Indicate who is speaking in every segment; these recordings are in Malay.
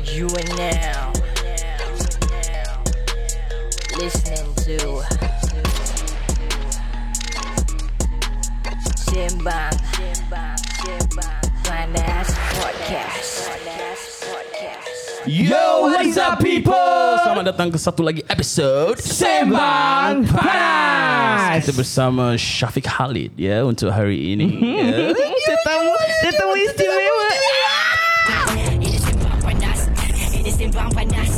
Speaker 1: You are now listening to Simbang Finance Podcast.
Speaker 2: Yo, what's up people?
Speaker 3: Selamat datang ke satu lagi episod
Speaker 2: Sembang Panas.
Speaker 3: Kita bersama Syafiq Khalid ya untuk hari ini.
Speaker 2: Mhm.
Speaker 3: ya.
Speaker 2: Tetamu, tetamu istimewa.
Speaker 4: Ini sembang panas. Ini sembang panas.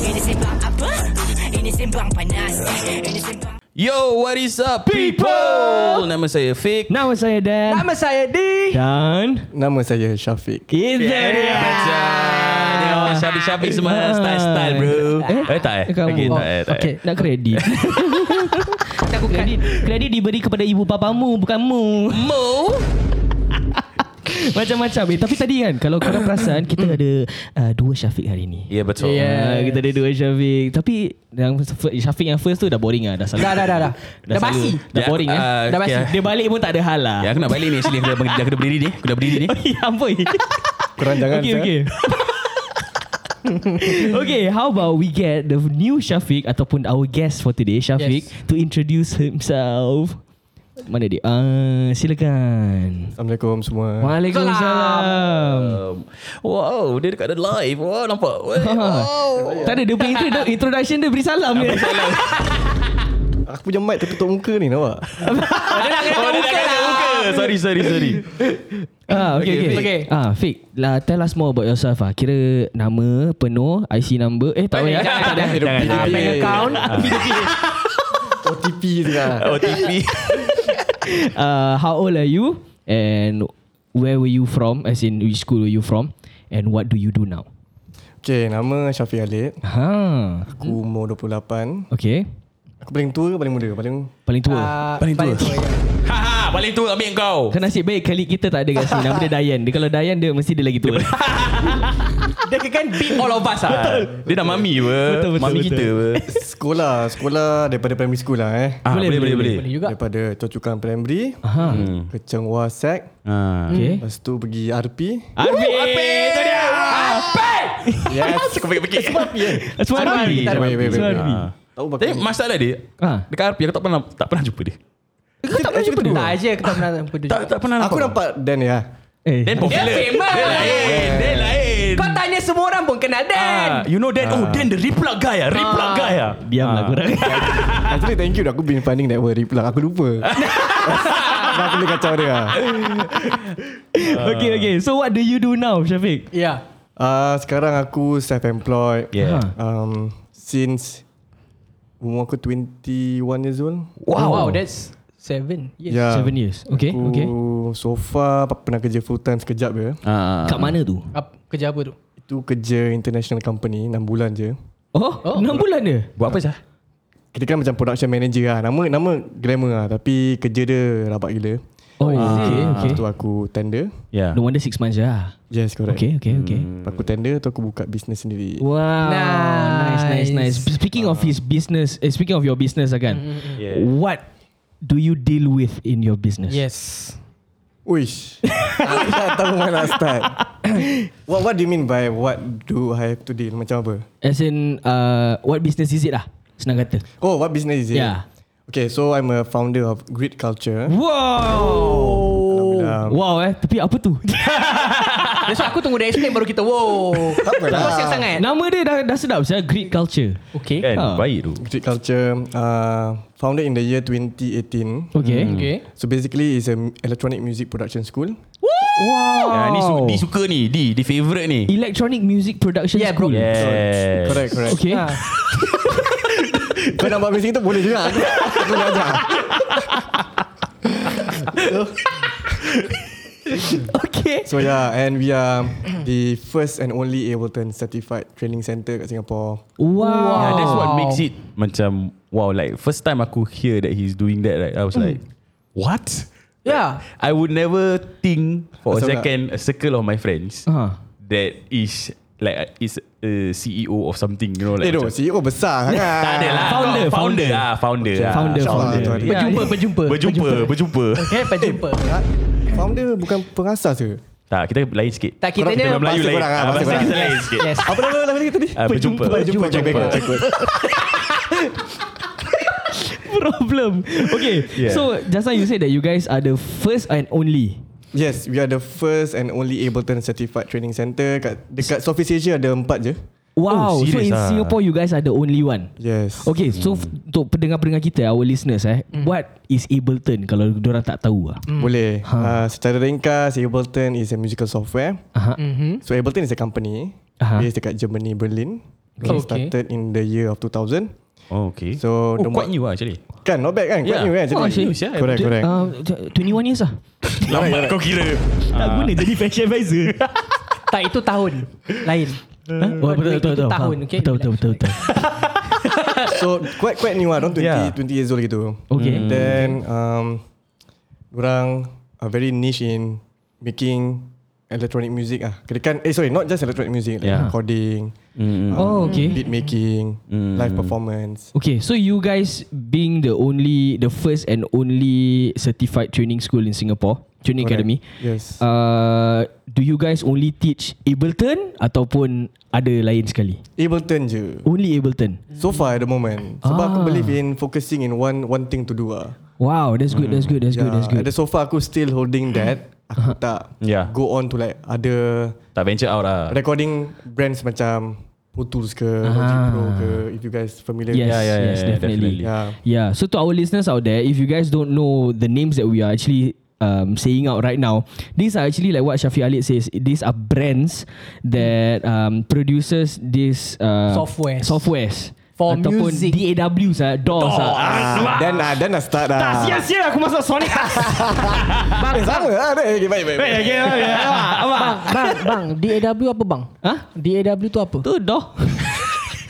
Speaker 4: Ini sembang apa? Ini sembang panas. Ini sembang
Speaker 3: Yo, what is up people? Nama saya Fik.
Speaker 2: Nama saya Dan. Nama saya Di. Dan.
Speaker 5: Nama saya Syafiq.
Speaker 2: Is there
Speaker 3: Macam Syafiq-Syafiq semua style-style bro. Eh tak eh? Okay, tak eh, tak eh.
Speaker 2: Okay, oh, nak kredit. kredit, kredit diberi kepada ibu papamu, bukan mu.
Speaker 3: Mo.
Speaker 2: Macam-macam. Eh, tapi tadi kan, kalau korang perasan, kita ada uh, dua Syafiq hari ini.
Speaker 3: Ya betul.
Speaker 2: Ah, kita ada dua Syafiq. Tapi yang f- Syafiq yang first tu dah boring lah. Dah, selalu,
Speaker 5: Dah, dah, dah, dah. Dah
Speaker 2: selalu-
Speaker 5: basi.
Speaker 2: Dah
Speaker 3: Ya,
Speaker 2: boring eh.
Speaker 3: ah,
Speaker 2: dah basi.
Speaker 3: okay.
Speaker 2: Dia balik pun tak ada hal lah.
Speaker 3: Ya aku nak balik ni actually aku dah, dah kena berdiri ni. Aku dah berdiri ni.
Speaker 2: Oh, ya ampun.
Speaker 5: Korang jangan.
Speaker 2: okay,
Speaker 5: sir.
Speaker 2: okay. okay, how about we get the new Syafiq ataupun our guest for today, Syafiq, yes. to introduce himself. Mana dia? Uh, silakan.
Speaker 5: Assalamualaikum semua.
Speaker 2: Waalaikumsalam.
Speaker 3: Um, wow, dia dekat ada live. Wow, nampak.
Speaker 2: Ha. Tak ada, dia punya intro, introduction dia beri salam. Dia.
Speaker 5: Aku punya mic tertutup muka ni nampak.
Speaker 3: Oh, dia dah kena muka. Sorry, sorry, sorry.
Speaker 2: Ah, okay, okay. okay. Ah, Fik, lah, tell us more about yourself. Ah. Kira nama, penuh, IC number. Eh, tak payah. Tak ada.
Speaker 5: Ah,
Speaker 3: Jangan.
Speaker 5: bank account.
Speaker 3: PDP.
Speaker 5: OTP sekarang.
Speaker 3: OTP.
Speaker 2: uh, how old are you and where were you from as in which school were you from and what do you do now
Speaker 5: Okay, nama Syafiq Khalid.
Speaker 2: ha
Speaker 5: Aku umur 28.
Speaker 2: okay
Speaker 5: Aku paling tua ke paling muda? Paling
Speaker 2: paling tua uh,
Speaker 3: Paling tua. Haha, paling tua ha, ambil kau.
Speaker 2: kan nasib baik kali kita tak ada kat sini nama dia Dayan dia kalau Dayan dia mesti dia lagi tua
Speaker 3: Dia kan beat all of us ah. Dia dah mami apa.
Speaker 2: Betul, betul,
Speaker 3: Mami
Speaker 2: betul.
Speaker 3: kita apa.
Speaker 5: sekolah. Sekolah daripada primary school lah eh.
Speaker 3: Ah,
Speaker 2: Boleh,
Speaker 3: boleh, boleh, boleh.
Speaker 5: Daripada Cocukan Primary.
Speaker 2: ha
Speaker 6: Hmm.
Speaker 3: Hmm.
Speaker 5: Ke Cheng Wah Sec.
Speaker 3: Ah.
Speaker 2: okay
Speaker 5: Lepas tu pergi RP.
Speaker 2: Arbi
Speaker 3: Itu dia.
Speaker 5: Yes.
Speaker 3: Kau fikir-fikir.
Speaker 2: semua Arbi
Speaker 5: Wait, wait, wait.
Speaker 2: semua
Speaker 5: wait.
Speaker 2: Arbi
Speaker 5: Ah. Tahu
Speaker 3: Tapi
Speaker 5: pakai
Speaker 3: Eh, masalah dia,
Speaker 2: Ah.
Speaker 3: dekat RP aku tak pernah tak pernah jumpa dia.
Speaker 2: kau tak pernah jumpa
Speaker 6: Tak aja aku tak pernah jumpa dia.
Speaker 3: Tak tak pernah
Speaker 5: Aku
Speaker 3: nampak.
Speaker 5: nampak Dan ya.
Speaker 2: eh
Speaker 3: Dan popular.
Speaker 6: famous.
Speaker 3: Dia lain. Dia lain.
Speaker 6: Kau tanya semua orang pun kenal Dan.
Speaker 3: Ah, you know Dan? Oh, Dan the replug guy ah. Replug guy ah.
Speaker 2: diamlah korang
Speaker 5: Actually thank you dah Aku been finding that word Replang Aku lupa Dah aku boleh kacau dia lah.
Speaker 2: okay okay so what do you do now Syafiq
Speaker 6: Ya.
Speaker 5: Ah, Sekarang aku self-employed
Speaker 3: Yeah.
Speaker 2: Ha.
Speaker 5: um, Since Umur aku 21 years old
Speaker 6: Wow.
Speaker 3: Oh.
Speaker 6: Wow, that's seven. Yes.
Speaker 5: Yeah.
Speaker 2: seven years okay
Speaker 5: Ah. Aku
Speaker 2: okay
Speaker 5: so far pernah kerja full time sekejap je
Speaker 3: Ah.
Speaker 2: kat mana tu
Speaker 6: Apa, kerja apa tu?
Speaker 5: Itu kerja international company 6 bulan je
Speaker 2: oh 6 bulan dia
Speaker 3: Buat apa sah?
Speaker 5: Kita kan macam production manager lah Nama nama glamour lah Tapi kerja dia rabat gila
Speaker 2: oh okay
Speaker 5: Ah,
Speaker 2: okay
Speaker 5: Lepas tu aku tender
Speaker 3: Yeah.
Speaker 2: no wonder 6 months je lah
Speaker 5: Yes correct
Speaker 2: Okay, okay, okay.
Speaker 5: Lepas aku tender tu aku buka business sendiri
Speaker 2: Wow, nice, nice, Mm, nice.
Speaker 6: Nice.
Speaker 2: Speaking of his business, eh, speaking of your business again,
Speaker 3: Yeah.
Speaker 2: what do you deal with in your business?
Speaker 6: Yes.
Speaker 5: Uish. Aku tak tahu mana nak start. what what do you mean by what do I have to deal? Macam apa?
Speaker 2: As in, uh, what business is it lah? Senang kata.
Speaker 5: Oh, what business is it?
Speaker 2: Yeah. Hmm?
Speaker 5: Okay, so I'm a founder of Grid Culture.
Speaker 2: Wow.
Speaker 5: Alhamdulillah.
Speaker 2: Wow eh, tapi apa tu?
Speaker 6: That's why aku tunggu dia explain baru kita. Wow.
Speaker 5: Tak apa lah.
Speaker 6: Kau siap sangat.
Speaker 2: Nama dia dah, dah sedap saya Greek culture.
Speaker 6: Okay.
Speaker 3: Kan
Speaker 2: Ah.
Speaker 3: baik tu.
Speaker 5: Grid Culture uh, founded in the year 2018.
Speaker 2: Okay.
Speaker 6: Okay.
Speaker 5: So basically, it's an electronic music production school.
Speaker 2: Wow.
Speaker 5: Ya,
Speaker 3: Ah, ni su- di suka ni, di di favorite ni.
Speaker 2: Electronic Music Production
Speaker 6: Yeah, bro.
Speaker 2: School.
Speaker 3: Yes.
Speaker 5: Correct, correct.
Speaker 2: Okay.
Speaker 6: Ah.
Speaker 5: Kau nak buat music tu boleh juga. Aku, aku nak ajar.
Speaker 2: Okay.
Speaker 5: So yeah, and we are the first and only Ableton certified training center kat Singapore.
Speaker 2: Wow.
Speaker 3: Yeah, that's what
Speaker 6: Wow.
Speaker 3: makes it macam wow like first time aku hear that he's doing that right. I was like what?
Speaker 6: Yeah.
Speaker 3: I would never think for a
Speaker 5: Pasal
Speaker 3: second a circle of my friends
Speaker 2: Ah.
Speaker 3: that is like uh, is a CEO of something you know like
Speaker 5: Eh, doh, CEO besar kan? sangat.
Speaker 3: tak ada lah
Speaker 2: Founder,
Speaker 3: Kau
Speaker 2: founder.
Speaker 3: founder ah founder ah.
Speaker 2: Founder,
Speaker 5: insyaAllah,
Speaker 2: founder.
Speaker 5: insyaAllah.
Speaker 2: Yeah.
Speaker 6: Berjumpa, Eh, berjumpa.
Speaker 3: berjumpa berjumpa
Speaker 6: Okay, berjumpa.
Speaker 5: Founder bukan pengasas ke?
Speaker 3: Tak, kita lain sikit.
Speaker 6: Tak, kita
Speaker 3: Korang-
Speaker 6: ni
Speaker 3: memang Melayu
Speaker 5: bahasa
Speaker 3: lain.
Speaker 5: korang lah,
Speaker 3: Ah,
Speaker 5: bahasa
Speaker 3: Bahasa
Speaker 5: korang.
Speaker 3: kita lain sikit.
Speaker 6: Yes.
Speaker 5: Apa nama lagu tadi?
Speaker 3: Ah, Berjumpa.
Speaker 5: Berjumpa Jack Backward.
Speaker 2: Problem. Okay.
Speaker 3: Yeah.
Speaker 2: So just now you said that you guys are the first and only.
Speaker 5: Yes, we are the first and only Ableton certified training center kat dekat Southeast Asia ada empat je.
Speaker 2: Wow.
Speaker 3: Oh,
Speaker 2: so
Speaker 3: serious
Speaker 2: in
Speaker 3: ah.
Speaker 2: Singapore you guys are the only one.
Speaker 5: Yes.
Speaker 2: Okay, so f- untuk pendengar-pendengar kita, our listeners eh,
Speaker 6: Hmm.
Speaker 2: what is Ableton kalau orang tak tahu ah?
Speaker 5: Boleh. Uh, secara ringkas, Ableton is a musical software.
Speaker 2: Aha.
Speaker 6: Mhm.
Speaker 5: So Ableton is a company
Speaker 2: Aha.
Speaker 5: based dekat Germany, Berlin.
Speaker 6: Okay.
Speaker 5: It started in the year of 2000.
Speaker 3: Oh, okay.
Speaker 5: So,
Speaker 3: oh,
Speaker 5: the
Speaker 3: quite
Speaker 5: mo-
Speaker 3: new lah actually.
Speaker 5: Kan, not bad kan? Quite
Speaker 3: Yeah.
Speaker 5: new kan?
Speaker 3: Oh,
Speaker 5: Jadi-
Speaker 3: serious, yeah.
Speaker 5: Correct, correct.
Speaker 2: Uh, 21 years ah.
Speaker 3: Lambat kau kira.
Speaker 2: Tak
Speaker 6: Ah.
Speaker 2: guna jadi fashion advisor.
Speaker 6: Tak itu tahun Lain
Speaker 2: Huh? Oh, betul, betul, betul.
Speaker 6: Tahun,
Speaker 2: Faham.
Speaker 6: okay?
Speaker 2: Betul, betul, betul, betul.
Speaker 5: So quite quite new lah Diorang 20,
Speaker 3: Yeah.
Speaker 5: yeah. 20 years old gitu
Speaker 2: Okay.
Speaker 5: And Then um, Diorang are very niche in Making Electronic music ah Kira kan Eh sorry Not just electronic music like
Speaker 3: Yeah.
Speaker 5: Recording um,
Speaker 3: Mm.
Speaker 2: Oh, okay.
Speaker 5: Beat making
Speaker 3: Mm.
Speaker 5: Live performance
Speaker 2: Okay, so you guys being the only, the first and only certified training school in Singapore, training
Speaker 5: Correct.
Speaker 2: academy,
Speaker 5: Yes
Speaker 2: uh, do you guys only teach Ableton ataupun ada lain sekali?
Speaker 5: Ableton je
Speaker 2: Only Ableton.
Speaker 5: So far at the moment Sebab aku
Speaker 2: Ah.
Speaker 5: believe in Focusing in one one thing to do ah
Speaker 2: Wow, that's good, that's good, that's good, that's good. Uh-huh.
Speaker 5: Ada so far aku still holding that Aku tak
Speaker 3: Yeah.
Speaker 5: Go on to like Other
Speaker 3: Tak venture out lah.
Speaker 5: recording brands macam Pro Tools ke, Logic Pro ke, if you guys familiar.
Speaker 2: Ah.
Speaker 3: Yeah,
Speaker 2: Yes,
Speaker 3: yeah, yeah,
Speaker 2: yes,
Speaker 3: yeah,
Speaker 2: definitely.
Speaker 3: ya, definitely.
Speaker 5: Yeah.
Speaker 2: Yeah. So to our listeners out there, if you guys don't know the names that we are actually um, saying out right now, these are actually like what Shafi Ali says. These are brands that um, produces this uh,
Speaker 6: Softwares.
Speaker 2: softwares
Speaker 6: For
Speaker 2: ataupun
Speaker 6: music.
Speaker 2: DAWs ah, DAWs ah.
Speaker 5: Dan ah, dan dah start dah.
Speaker 2: sia aku masuk Sonic.
Speaker 5: Eh, sama ah. dah. Okay, baik, baik. baik.
Speaker 6: Ah, Bang Bang Bang DAW apa bang?
Speaker 2: Hah?
Speaker 6: DAW tu apa?
Speaker 2: Tu doh.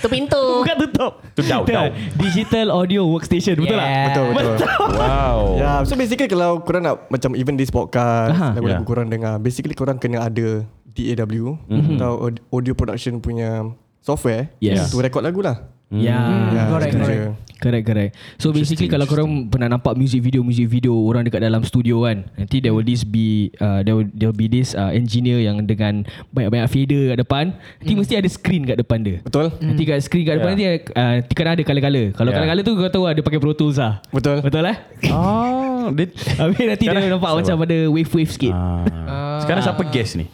Speaker 6: Tu pintu
Speaker 2: Bukan tutup.
Speaker 3: Tu daw, daw.
Speaker 2: Digital audio workstation, betul tak?
Speaker 6: Yeah.
Speaker 5: Betul, betul.
Speaker 3: Wow.
Speaker 5: Ya, yeah, so basically kalau korang nak macam even this podcast,
Speaker 2: Aha.
Speaker 5: lagu-lagu
Speaker 3: Yeah.
Speaker 5: korang dengar, basically korang kena ada DAW atau aud- audio production punya software
Speaker 2: Yes.
Speaker 5: to record lagu lah.
Speaker 2: Yeah.
Speaker 5: Yeah,
Speaker 6: correct,
Speaker 5: itu je.
Speaker 6: correct.
Speaker 2: Hmm. Correct correct So basically kalau korang pernah nampak music video music video orang dekat dalam studio kan nanti there will this be uh, there will there will be this uh, engineer yang dengan banyak-banyak fader kat depan nanti mesti ada screen kat depan dia.
Speaker 5: Betul?
Speaker 2: Nanti kat screen kat depan nanti uh, nanti kan ada kala-kala. Kalau
Speaker 3: Yeah.
Speaker 2: kala-kala tu kau tahu ada pakai Pro Tools lah.
Speaker 5: Betul.
Speaker 2: Betul eh?
Speaker 3: Oh, dia,
Speaker 2: Habis nanti dia
Speaker 3: Sekarang-
Speaker 2: nampak macam ada wave-wave sikit.
Speaker 3: ah. Sekarang siapa guest ni?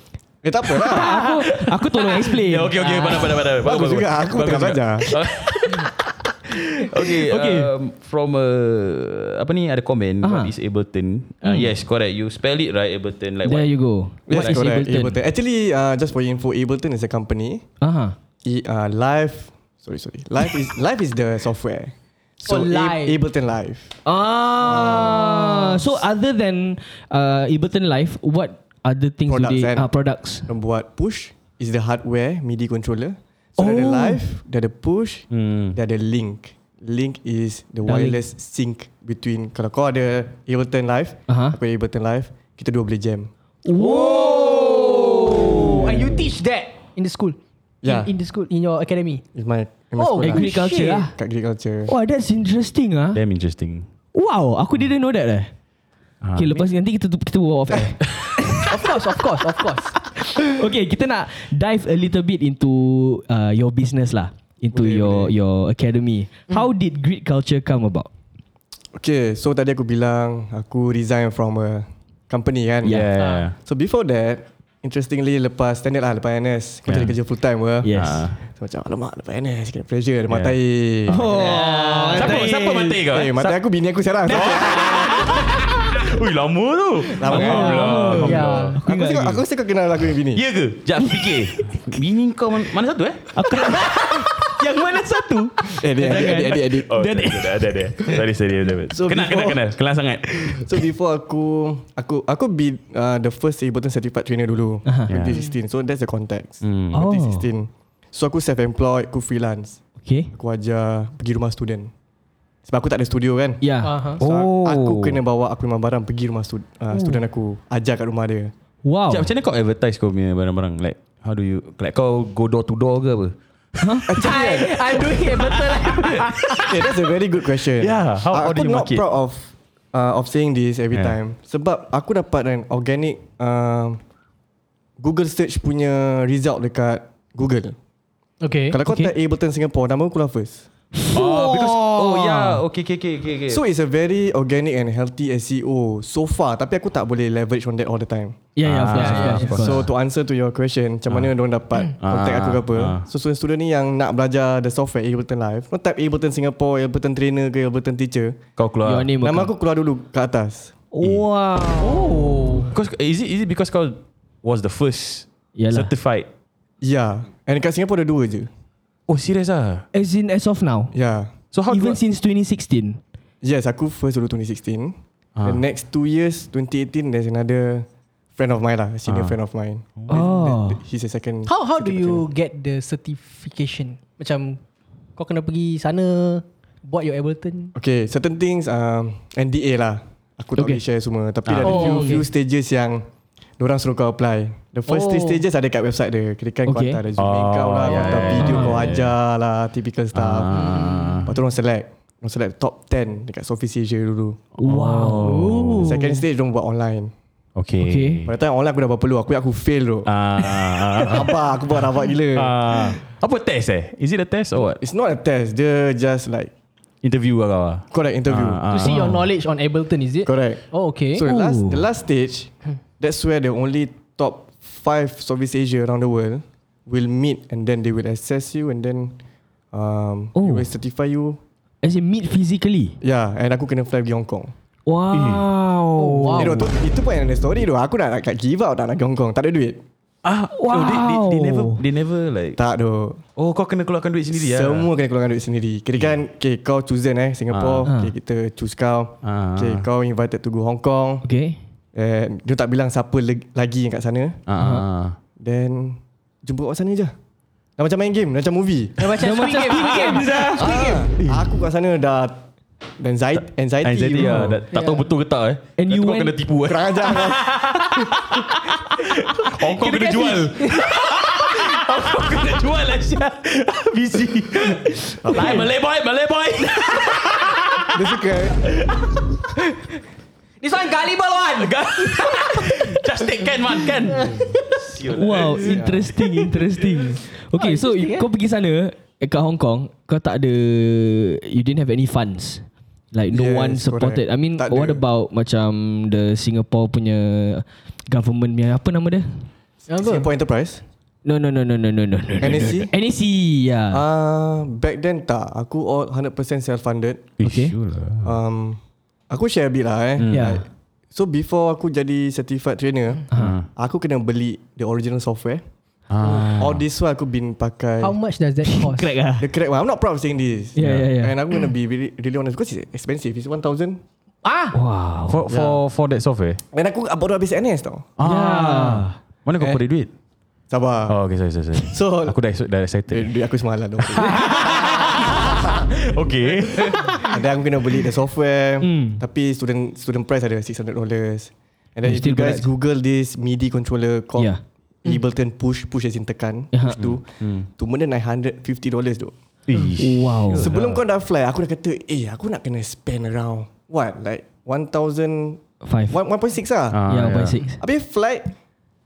Speaker 5: Eh tak apa lah.
Speaker 2: Aku aku tolong explain.
Speaker 3: Ya, okey okey, pandai pandai pandai.
Speaker 5: Bagus juga, aku tengah belajar.
Speaker 3: okay,
Speaker 2: Okay.
Speaker 3: okay. Um, from uh, apa ni ada komen what
Speaker 2: Aha.
Speaker 3: is Ableton? Uh, yes, correct. You spell it right Ableton like
Speaker 2: There
Speaker 3: what?
Speaker 2: you go.
Speaker 5: Yes,
Speaker 2: What is
Speaker 5: correct.
Speaker 2: Ableton?
Speaker 5: Ableton. Actually, uh, just for your info, Ableton is a company
Speaker 2: Aha.
Speaker 5: E- uh, live sorry sorry live is live is the software so
Speaker 6: Oh,
Speaker 5: Ab-
Speaker 6: Live.
Speaker 5: ableton live
Speaker 2: Ah, so other than uh, Ableton Live, what other things
Speaker 5: Products
Speaker 2: do they?
Speaker 5: and-
Speaker 2: Ah, products.
Speaker 5: Yang buat push is the hardware midi controller so oh. ada
Speaker 2: Oh.
Speaker 5: live dia ada push
Speaker 3: Hmm.
Speaker 5: dia ada link link is the
Speaker 2: Dah link.
Speaker 5: wireless sync between kalau kau ada ableton live
Speaker 2: Aha.
Speaker 5: aku ada ableton live kita dua boleh jam
Speaker 6: Oh And you teach that In the school
Speaker 5: Yeah.
Speaker 6: in, in the school In your academy
Speaker 5: in my, in my
Speaker 6: Oh,
Speaker 2: Agri-
Speaker 5: sekolah
Speaker 7: eh,
Speaker 2: Agriculture
Speaker 6: shit.
Speaker 2: lah.
Speaker 5: kat agriculture
Speaker 2: Wah, that's interesting ah.
Speaker 3: Damn interesting.
Speaker 2: Wow, aku didn't know that eh. Okay, lepas ni nanti kita tu- kita buat off air.
Speaker 6: Of course Of course Of course
Speaker 2: okay, kita nak dive a little bit into uh, your business lah, into
Speaker 5: Boleh,
Speaker 2: your
Speaker 5: boleh. Hmm.
Speaker 2: your academy. How did Grid Culture come about?
Speaker 5: okay so tadi aku bilang aku resign from a company kan
Speaker 3: Yeah.
Speaker 5: So before that Interestingly lepas standard lah Lepas NS
Speaker 3: Yeah.
Speaker 5: Kau cari kerja full time ke
Speaker 2: Yes.
Speaker 3: Ah.
Speaker 5: So macam alamak lepas NS Kena pressure Ada matai
Speaker 2: Oh,
Speaker 3: Siapa
Speaker 2: tapi-
Speaker 3: siapa mati kau?
Speaker 5: Eh matai aku bini aku sekarang eh?
Speaker 3: Ui, lama tu.
Speaker 5: Lama kan?
Speaker 3: Alhamdulillah.
Speaker 6: Yeah
Speaker 5: Aku rasa kau- Aku rasa kau kenal aku dengan bini
Speaker 3: Ya ke? Jap fikir. Bini kau man- mana satu eh?
Speaker 2: Aku yang mana satu?
Speaker 5: Eh dia adik adik adik adik
Speaker 3: Oh, ada ada ada ada. Sorry, sorry, sorry.
Speaker 5: So,
Speaker 3: Kenal, kenal,
Speaker 5: before-
Speaker 3: kenal. Kenal sangat.
Speaker 5: So before aku Aku aku be uh, The first Ableton certified trainer dulu 2016 So that's the context
Speaker 3: Hmm.
Speaker 2: Oh.
Speaker 5: 2016 So aku self-employed Aku freelance
Speaker 2: Okay.
Speaker 5: Aku ajar Pergi rumah student Sebab aku tak ada studio kan
Speaker 3: Ya.
Speaker 2: Yeah.
Speaker 7: Ah.
Speaker 6: Aha.
Speaker 3: uh-huh.
Speaker 5: So oh. aku kena bawa aku memang barang pergi rumah stud, uh,
Speaker 3: Oh.
Speaker 5: student aku ajar kat rumah dia.
Speaker 2: Wow.
Speaker 3: Jap, macam mana kau advertise kau punya barang-barang? Like, how do you... Like, kau go door to door ke apa?
Speaker 6: I, I'm doing it betul lah
Speaker 5: Okay, that's a very good question. Uh,
Speaker 3: Yeah, how- how
Speaker 5: aku
Speaker 3: do you
Speaker 5: not
Speaker 3: market?
Speaker 5: proud of uh, of saying this every
Speaker 3: Yeah.
Speaker 5: time sebab aku dapat an organic um, kan, Google search punya result dekat Google.
Speaker 7: Okay.
Speaker 5: Kalau kau okay. type Ableton Singapore, nama aku lah first.
Speaker 3: Oh, because oh yeah, okay, okay, okay, okay. okay.
Speaker 5: So it's a very organic and healthy SEO so far. Tapi aku tak boleh leverage on that all the time.
Speaker 2: Yeah, yeah, of course, of course, of course.
Speaker 5: So to answer to your question, macam mana diorang dapat contact aku ke apa.
Speaker 3: Hmm. Ah.
Speaker 5: So student-student ni yang nak belajar the software Ableton Live, kau type Ableton Singapore, Ableton Trainer ke Ableton Teacher.
Speaker 3: Kau keluar.
Speaker 2: Your name
Speaker 5: Nama
Speaker 2: account.
Speaker 5: aku keluar dulu ke atas.
Speaker 2: Wow.
Speaker 3: Because is it is it because kau was the first
Speaker 2: Yalah.
Speaker 3: certified?
Speaker 5: Ya. Yeah. And dekat Singapore ada dua je.
Speaker 3: Oh, serious ah.
Speaker 2: As in as of now.
Speaker 5: Ya. Yeah.
Speaker 3: So how
Speaker 2: Even
Speaker 3: do I,
Speaker 2: since 2016.
Speaker 5: Yes, aku first dulu 2016.
Speaker 3: Ah.
Speaker 5: The next two years, 2018, there's another friend of mine lah, senior
Speaker 3: Ah.
Speaker 5: friend of mine.
Speaker 2: Oh.
Speaker 5: He's a second.
Speaker 7: How how do
Speaker 5: second
Speaker 7: you get the certification? Macam kau kena pergi sana buat your Ableton.
Speaker 5: Okay, certain things um, NDA lah. Aku tak
Speaker 2: Okay.
Speaker 5: boleh share semua. Tapi ada
Speaker 7: Oh,
Speaker 5: few,
Speaker 7: okay.
Speaker 5: few stages yang Diorang suruh kau apply The first three
Speaker 7: Oh.
Speaker 5: stages ada kat website dia Kira-kira kau
Speaker 2: Okay.
Speaker 5: hantar resume
Speaker 3: Oh,
Speaker 5: kau lah Kau
Speaker 3: yeah,
Speaker 5: hantar
Speaker 3: yeah,
Speaker 5: video
Speaker 3: yeah.
Speaker 5: kau
Speaker 3: Ah.
Speaker 5: ajar lah Typical stuff Lepas tu orang select Orang select top 10 Dekat Southeast Asia dulu
Speaker 7: Oh.
Speaker 2: Wow.
Speaker 5: Second stage diorang buat online
Speaker 3: Oh. Okay.
Speaker 2: Okay.
Speaker 5: Pada time online aku dah berapa lu Aku aku fail tu
Speaker 3: Ah.
Speaker 5: Rabak aku buat rabak gila
Speaker 3: Ah. Apa test eh? Is it a test or what?
Speaker 5: It's not a test Dia just like
Speaker 3: Interview lah kau ah.
Speaker 5: Correct interview
Speaker 3: Ah,
Speaker 7: To see your knowledge on Ableton is it?
Speaker 5: Correct
Speaker 7: Oh okay.
Speaker 5: So the last
Speaker 2: Ooh. Hmm.
Speaker 5: the last stage, that's where the only top five Southeast Asia around the world will meet, and then they will assess you, and then um,
Speaker 2: Oh.
Speaker 5: they will certify you.
Speaker 2: As in meet physically.
Speaker 5: Yeah, and aku kena fly pergi Hong Kong.
Speaker 2: Hmm. Wow.
Speaker 5: Oh. Eh, dok, tu, itu pun yang ada story tu. Aku nak, nak give up, tak nak pergi Hong Kong. Tak ada duit.
Speaker 3: Ah, oh, they, they, they
Speaker 2: Wow.
Speaker 3: never they never like
Speaker 5: Tak dok.
Speaker 3: Oh, kau kena keluarkan duit sendiri ah.
Speaker 5: Semua kena keluarkan duit sendiri. Kira kan, okay, kau chosen eh, Singapore.
Speaker 2: Ah.
Speaker 5: Okay, kita choose kau.
Speaker 3: Ah.
Speaker 5: Okay, kau invited to go Hong Kong.
Speaker 2: Okay.
Speaker 5: And dia tak bilang siapa leg- lagi yang kat sana.
Speaker 3: Ah. ah.
Speaker 5: Then jumpa kat sana je. Dah macam main game, dah macam movie.
Speaker 7: Dah macam Squid Game. Squid Game.
Speaker 5: Ah, aku kat sana dah dan anxiety, anxiety,
Speaker 3: Anxiety
Speaker 5: bro.
Speaker 3: ah. Tak tahu betul ke tak eh.
Speaker 2: And
Speaker 3: Nanti
Speaker 2: you
Speaker 3: kau
Speaker 2: went-
Speaker 3: kena tipu eh.
Speaker 5: Kurang ajar kau.
Speaker 3: Hong Kong kena jual. Hong Kong kena jual lah Syah. Busy. Lai Malay boy, Malay boy.
Speaker 5: Dia suka
Speaker 6: This one gullible one.
Speaker 3: Just take can man can.
Speaker 2: Wow, interesting, interesting. Okay, so you, kau pergi sana eh, kat Hong Kong, kau tak ada you didn't have any funds. Like no
Speaker 5: Yes,
Speaker 2: one supported.
Speaker 5: correct.
Speaker 2: I mean,
Speaker 5: Tak
Speaker 2: what
Speaker 5: ada.
Speaker 2: about macam the Singapore punya government punya apa nama dia?
Speaker 5: Singapore Enterprise
Speaker 2: No, no, no, no, no, no, no. no, no.
Speaker 5: NSC
Speaker 2: NAC, yeah.
Speaker 5: Ah, Back then tak Aku all 100% self-funded
Speaker 2: Okay.
Speaker 5: um, Aku share a bit lah eh
Speaker 2: Yeah.
Speaker 5: Like, So before aku jadi certified trainer
Speaker 2: Uh-huh.
Speaker 5: Aku kena beli the original software
Speaker 2: Ah.
Speaker 5: All this while aku been pakai
Speaker 7: How much does that cost?
Speaker 2: Crack ah.
Speaker 5: The correct one I'm not proud of saying this
Speaker 2: Yeah, yeah, yeah.
Speaker 5: And I'm gonna be really, really honest Because it's expensive It's 1000
Speaker 2: Wow.
Speaker 3: For for for that software.
Speaker 5: And aku baru habis NS tau
Speaker 3: Ah. Mana kau cari duit?
Speaker 5: Sabar
Speaker 3: Oh, okay, sorry, sorry, sorry.
Speaker 5: So
Speaker 3: Aku dah dah excited.
Speaker 5: Duit duit aku semalam tu
Speaker 3: Okay.
Speaker 5: Ada aku kena beli the software Tapi student student price ada $600 And then
Speaker 2: Hmm. You
Speaker 5: if you
Speaker 2: still
Speaker 5: guys
Speaker 2: got-
Speaker 5: google this MIDI controller called
Speaker 2: Yeah.
Speaker 5: yeah. Ableton push Push as in tekan
Speaker 2: Ya.
Speaker 5: Push tu Tu benda $950 tu
Speaker 3: Ish.
Speaker 2: Oh, Wow.
Speaker 5: Sebelum kau dah fly Aku dah kata Eh aku nak kena spend around What like 1,000
Speaker 2: Five.
Speaker 5: 1.6
Speaker 3: Ah,
Speaker 5: lah
Speaker 2: yeah, Ya, by
Speaker 3: yeah.
Speaker 2: six.
Speaker 5: Habis flight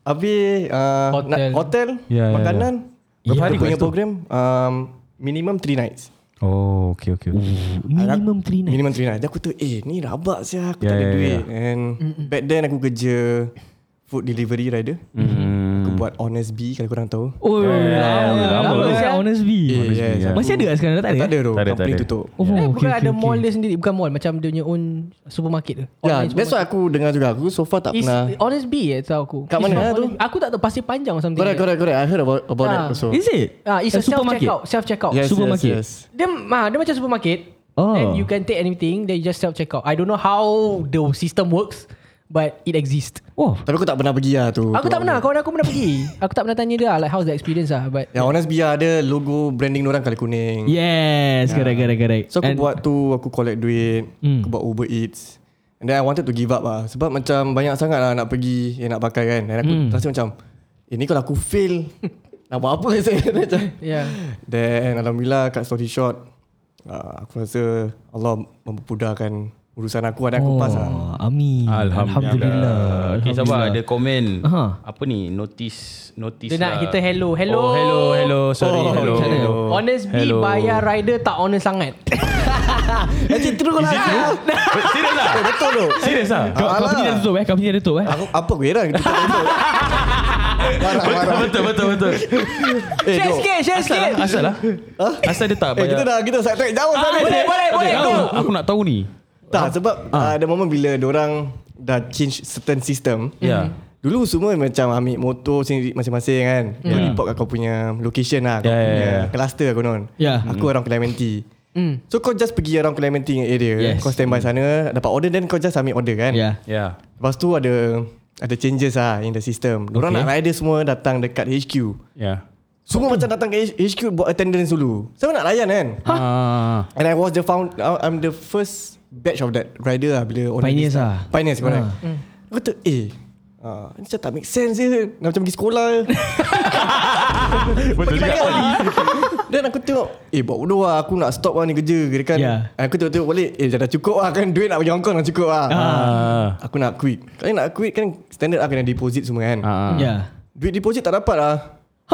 Speaker 5: Habis uh,
Speaker 7: Hotel.
Speaker 5: nak- hotel
Speaker 3: Ya, ya,
Speaker 5: Makanan
Speaker 2: ya.
Speaker 5: Berapa
Speaker 2: Ya.
Speaker 5: hari punya
Speaker 2: Lepas tu?
Speaker 5: program um, Minimum 3 nights
Speaker 3: Oh, okay, okay.
Speaker 2: Minimum three night.
Speaker 5: Minimum 3 nights Then aku tu Eh ni rabak siya Aku
Speaker 3: Yeah,
Speaker 5: tak ada
Speaker 3: yeah,
Speaker 5: duit And back then aku kerja Food delivery rider
Speaker 3: Hmm.
Speaker 5: Aku buat Honest Bee Kalau korang tahu
Speaker 2: Oh, lama. Lama saya honest be.
Speaker 5: Eh, yes,
Speaker 3: lah, yeah.
Speaker 5: aku-
Speaker 2: Masih ada kat sekarang tak ada?
Speaker 5: Tak ada tu
Speaker 3: ya. Tak ada, tak
Speaker 5: Company
Speaker 3: ada.
Speaker 2: Oh,
Speaker 5: tutup
Speaker 7: Eh,
Speaker 2: okay,
Speaker 7: bukan
Speaker 2: okay,
Speaker 7: ada
Speaker 2: okay.
Speaker 7: mall dia sendiri Bukan mall Macam dia punya own Supermarket tu
Speaker 5: Ya that's why aku dengar juga Aku so far tak
Speaker 7: Is
Speaker 5: pernah
Speaker 7: Honest B eh Tahu aku
Speaker 5: Kat
Speaker 7: It's
Speaker 5: mana
Speaker 7: from
Speaker 5: lah tu?
Speaker 7: Honest- Aku tak tahu Pasir Panjang or something
Speaker 5: Correct correct correct I heard about, about that
Speaker 7: Ah.
Speaker 5: also
Speaker 2: Is it?
Speaker 7: Ah, It's a,
Speaker 2: supermarket?
Speaker 7: self-checkout Self-checkout
Speaker 5: Yes,
Speaker 2: supermarket.
Speaker 5: yes,
Speaker 7: Dia, ah, dia macam supermarket
Speaker 2: Oh.
Speaker 7: And you can take anything Then you just self-checkout I don't know how The system works But it exists
Speaker 2: Wow.
Speaker 5: yes. Tapi aku tak pernah pergi lah tu
Speaker 7: Aku tak pernah Kawan aku pernah pergi Aku tak pernah tanya dia lah, Like how's the experience lah But
Speaker 5: Yang Honest Bee lah, ada logo branding orang kali kuning
Speaker 2: Yes, correct, correct, correct.
Speaker 5: So aku
Speaker 2: And-
Speaker 5: buat tu Aku collect duit Aku buat Uber Eats And then I wanted to give up lah Sebab macam Banyak sangat lah nak pergi eh, Nak pakai kan And aku rasa macam eh, Ini kalau aku fail Nak buat apa saya Macam.
Speaker 7: Yeah
Speaker 5: ah, Then Alhamdulillah kat story short uh, Aku rasa Allah mempermudahkan urusan aku ada aku oh. pas lah.
Speaker 2: Amin. Alhamdulillah.
Speaker 3: Okay, sabar. Ada komen.
Speaker 2: Aha.
Speaker 3: Apa ni? Notice. Notice
Speaker 7: Dia nak
Speaker 3: lah.
Speaker 7: kita hello Hello
Speaker 3: Oh, hello, hello. Sorry, oh, hello. hello.
Speaker 7: Honest B bayar rider tak honest sangat
Speaker 5: Actually true lah.
Speaker 2: Eh,
Speaker 3: Serius lah?
Speaker 5: Eh, Betul tu.
Speaker 3: Serius lah?
Speaker 2: Kau, kau punya dah tutup eh? Kau punya dah tutup eh?
Speaker 5: Aku apa aku heran kita tak betul. Marah
Speaker 3: Betul,
Speaker 5: marah.
Speaker 3: betul, betul, betul.
Speaker 5: Eh,
Speaker 7: Share
Speaker 5: jom.
Speaker 7: sikit Share
Speaker 3: Asal
Speaker 7: sikit
Speaker 3: lah? Asal lah? Asal dia tak
Speaker 5: Eh, kita
Speaker 3: bayar?
Speaker 5: dah kita side track jauh sana.
Speaker 7: Ah, Boleh boleh boleh
Speaker 3: Okay,
Speaker 7: go
Speaker 3: aku- Aku nak tahu ni.
Speaker 5: Tak sebab ah, ada momen bila orang dah change certain system.
Speaker 2: Hmm.
Speaker 3: Ya.
Speaker 5: Dulu semua macam ambil motor sendiri masing-masing kan. Kau
Speaker 3: Ya.
Speaker 5: report kat kau punya location lah.
Speaker 3: Ya,
Speaker 5: Kau
Speaker 3: ya,
Speaker 5: punya
Speaker 3: ya. Hmm.
Speaker 5: cluster aku non.
Speaker 2: Ya. Hmm.
Speaker 5: Aku orang Clementi. So kau just pergi around Clementi area.
Speaker 2: Yes.
Speaker 5: Kau standby sana. Dapat order then kau just ambil order kan.
Speaker 2: Ya.
Speaker 3: Ya.
Speaker 5: Lepas tu ada ada changes lah in the system. Diorang
Speaker 2: Okay.
Speaker 5: nak rider semua datang dekat HQ.
Speaker 3: Ya.
Speaker 5: Semua
Speaker 2: Hmm.
Speaker 5: macam datang ke H- HQ buat attendance dulu. Siapa nak layan kan?
Speaker 3: Ah.
Speaker 5: And I was the found I- I'm the first batch of that rider lah bila order
Speaker 2: Pioneers
Speaker 5: this-
Speaker 2: lah.
Speaker 5: Pioneers correct.
Speaker 2: Ah.
Speaker 5: Aku kata eh Ah, ni macam tak make sense je Nak macam pergi sekolah
Speaker 3: Betul juga.
Speaker 5: Dan aku tengok Eh buat bodoh lah Aku nak stop lah ni kerja Kira kan
Speaker 2: Ya.
Speaker 5: Aku tengok-tengok balik Eh dah dah cukup lah kan Duit nak pergi Hong Kong dah cukup lah
Speaker 3: Ah.
Speaker 5: Aku nak quit Kalau nak quit kan Standard lah kena deposit semua kan
Speaker 3: Ah.
Speaker 2: Ya.
Speaker 5: Duit deposit tak dapat lah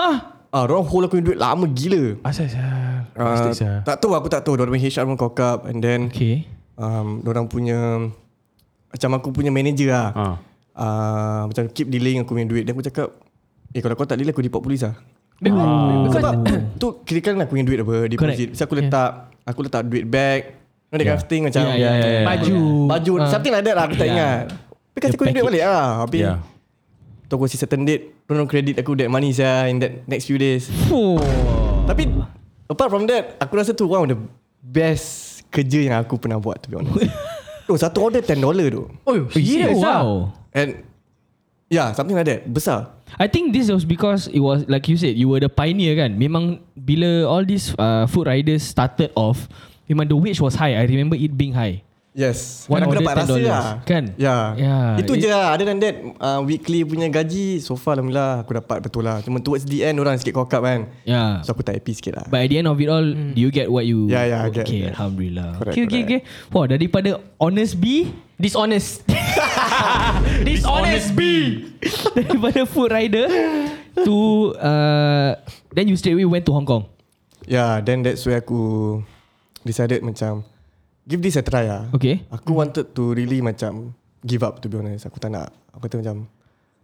Speaker 2: Ha?
Speaker 5: Ah, orang hold aku punya duit lama gila
Speaker 3: Asal asal.
Speaker 5: Ah,
Speaker 3: Plastik asal.
Speaker 5: Tak tahu aku tak tahu Diorang punya HR pun cock up And then
Speaker 2: Okay.
Speaker 5: um, Diorang punya Macam aku punya manager lah
Speaker 3: Ah.
Speaker 5: uh, Macam keep delaying aku punya duit Dan aku cakap Eh kalau kau tak delay aku report polis lah Ah.
Speaker 2: Oh.
Speaker 5: Sebab tu kira kan aku punya duit apa Deposit
Speaker 2: Correct.
Speaker 5: So aku letak Aku letak duit bag You know that kind of thing Macam
Speaker 2: Ya, ya, ya, ya.
Speaker 7: Baju.
Speaker 5: Baju Something like that lah Aku tak ingat Tapi kasi aku punya duit balik lah Habis
Speaker 3: Ya.
Speaker 5: Tu aku kasi certain date Diorang credit aku that money saya In that next few days
Speaker 2: Oh.
Speaker 5: Tapi Apart from that Aku rasa tu one of the Best Kerja yang aku pernah buat To be honest Tu Oh, satu order 10 dollar tu
Speaker 7: Oh serious lah
Speaker 2: Wow.
Speaker 5: And Yeah something like that Besar
Speaker 2: I think this was because it was like you said you were the pioneer kan. Memang bila all these uh, food riders started off, memang the wage was high. I remember it being high.
Speaker 5: Yes
Speaker 2: One
Speaker 5: Dan aku
Speaker 2: order
Speaker 5: dapat rasa
Speaker 2: $10
Speaker 5: lah
Speaker 2: kan?
Speaker 5: yeah.
Speaker 2: Yeah,
Speaker 5: Itu
Speaker 2: it-
Speaker 5: je lah Other than that uh, Weekly punya gaji So far Alhamdulillah Aku dapat betul lah Cuma towards the end Orang sikit cock up kan
Speaker 2: Yeah.
Speaker 5: So aku tak happy sikit lah
Speaker 2: Ya. But at the end of it all, mm. do you get what you?
Speaker 5: Yeah, yeah, I get-
Speaker 2: okay,
Speaker 5: get.
Speaker 2: alhamdulillah.
Speaker 5: Correct,
Speaker 2: okay, okay, okay. Wah, daripada honest B,
Speaker 7: Dishonest Dishonest B
Speaker 2: daripada food rider to uh, then you straight away went to Hong Kong.
Speaker 5: Yeah Ya, then that's where aku Decided macam Give this a try lah
Speaker 2: Okay.
Speaker 5: Aku
Speaker 3: Hmm.
Speaker 5: wanted to really macam Give up to be honest Aku tak nak Aku kata macam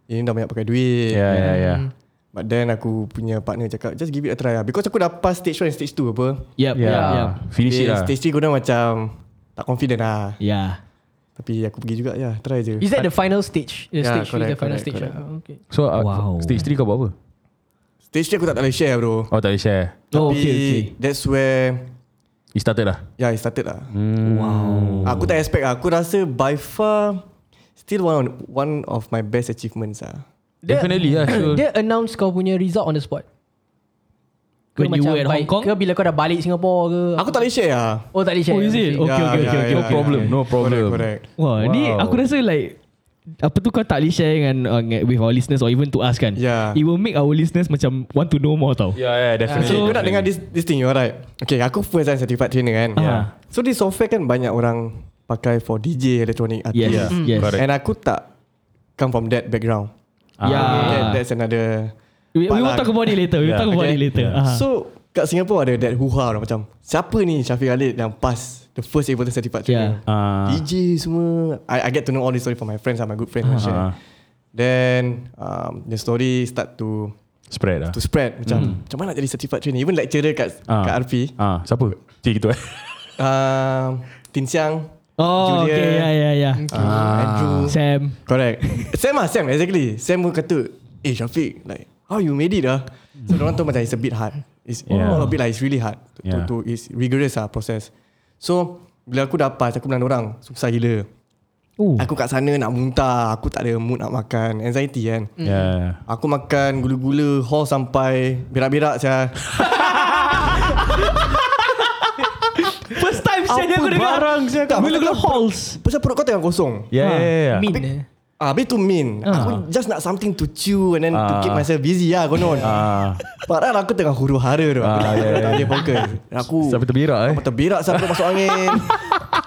Speaker 5: Ini dah banyak pakai duit
Speaker 3: Ya, ya, ya.
Speaker 7: Hmm.
Speaker 5: But then aku punya partner cakap Just give it a try lah Because aku dah pass stage 1 and stage 2 apa
Speaker 2: Yep,
Speaker 3: Ya.
Speaker 2: yep, yep.
Speaker 3: Finish it
Speaker 5: Eh,
Speaker 3: lah.
Speaker 5: Stage 3 korang macam Tak confident lah
Speaker 2: Yeah.
Speaker 5: Tapi aku pergi juga ya Try je
Speaker 7: Is that the final stage?
Speaker 5: Yeah,
Speaker 7: The stage three,
Speaker 5: correct,
Speaker 7: the final
Speaker 5: correct,
Speaker 7: stage
Speaker 5: correct.
Speaker 7: ah, Okay
Speaker 3: So uh,
Speaker 2: Wow.
Speaker 3: stage 3 kau buat apa?
Speaker 5: Stage 3 aku tak boleh share bro
Speaker 3: Oh tak boleh share.
Speaker 2: Oh,
Speaker 5: Tapi
Speaker 2: okay, okay.
Speaker 5: that's where
Speaker 3: You started lah.
Speaker 5: Ya yeah, it started lah
Speaker 3: Hmm.
Speaker 5: Wow Aku tak expect lah Aku rasa by far Still one one of my best achievements lah
Speaker 3: Definitely lah. Sure.
Speaker 7: Dia announce kau punya result on the spot
Speaker 2: When you
Speaker 7: macam
Speaker 2: were at Hong
Speaker 7: baik-
Speaker 2: Kong?
Speaker 7: Ke bila kau dah balik Singapore ke
Speaker 5: Aku tak boleh share lah Ya,
Speaker 7: Oh tak boleh share
Speaker 2: Oh, is it?
Speaker 7: Okay.
Speaker 2: Okay, okay, okay, okay.
Speaker 3: No problem, no problem.
Speaker 5: Correct, correct.
Speaker 2: Wah, wow. ni
Speaker 3: Wow.
Speaker 2: aku rasa like apa tu kau tak boleh share dengan uh, dengan- with our listeners or even to us kan?
Speaker 5: Yeah.
Speaker 2: It will make our listeners macam want to know more tau.
Speaker 3: Yeah, yeah, Ya, definitely.
Speaker 5: Okay, Ah, so, kau nak
Speaker 3: definitely.
Speaker 5: dengar this, this thing, you're right. Okay, aku first time certified trainer kan.
Speaker 2: Yeah.
Speaker 5: So, this software kan banyak orang pakai for DJ, electronic, artist.
Speaker 2: Yes, yes.
Speaker 3: Correct.
Speaker 5: And aku tak come from that background.
Speaker 3: Ah.
Speaker 2: Yeah.
Speaker 5: That, that's another
Speaker 2: We, we
Speaker 5: part
Speaker 2: will
Speaker 5: lah.
Speaker 2: talk about it later. We will
Speaker 3: Yeah,
Speaker 2: talk about
Speaker 5: okay.
Speaker 2: it later.
Speaker 3: Yeah.
Speaker 2: Uh-huh.
Speaker 5: So kat Singapore ada that hoo-ha tau, macam siapa ni Syafiq Khalid yang pass the first Ableton certified trainer.
Speaker 2: Yeah.
Speaker 3: Ah.
Speaker 5: DJ semua. I, I get to know all this story from my friends and my good friends. and shit.
Speaker 3: Ah.
Speaker 5: Then um, the story start to
Speaker 3: Spread lah.
Speaker 5: to spread macam macam mana nak jadi certified trainer. Even lecturer kat
Speaker 3: Ah.
Speaker 5: kat RP,
Speaker 3: Ah, siapa? Cik gitu eh.
Speaker 5: um, Tin Siang,
Speaker 2: oh,
Speaker 5: Julia.
Speaker 2: okay, yeah, yeah, yeah. Uh-huh.
Speaker 5: Andrew.
Speaker 2: Sam.
Speaker 5: Correct. Sam lah, Sam exactly. Sam pun kata, eh Syafiq, like how you made it lah. So orang tu macam it's a bit hard. It's
Speaker 3: Yeah.
Speaker 5: yeah. all a bit like it's really hard. To,
Speaker 3: Yeah.
Speaker 5: yeah. to, to it's rigorous lah proses. So bila aku dah pass, aku bilang orang susah gila.
Speaker 2: Oh.
Speaker 5: Aku kat sana nak muntah, aku tak ada mood nak makan, anxiety kan.
Speaker 2: Mm.
Speaker 3: Yeah.
Speaker 5: Aku makan gula-gula hall sampai berak-berak saya.
Speaker 2: First time saya
Speaker 5: Apa
Speaker 2: aku dengar
Speaker 5: barang saya kat-
Speaker 2: Gula-gula halls
Speaker 5: Pasal perut kau tengah kosong.
Speaker 3: Yeah, yeah, yeah.
Speaker 7: Min eh.
Speaker 5: Ah, habis tu min. Aku just nak something to chew and then to keep myself busy lah konon.
Speaker 3: Ah,
Speaker 5: Padahal aku tengah huru hara tu. Aku
Speaker 3: Ah,
Speaker 5: tak
Speaker 3: ya, ya,
Speaker 5: tak
Speaker 3: ya.
Speaker 5: boleh fokus. Aku
Speaker 3: sampai terberak eh.
Speaker 5: Aku terberak sampai masuk angin.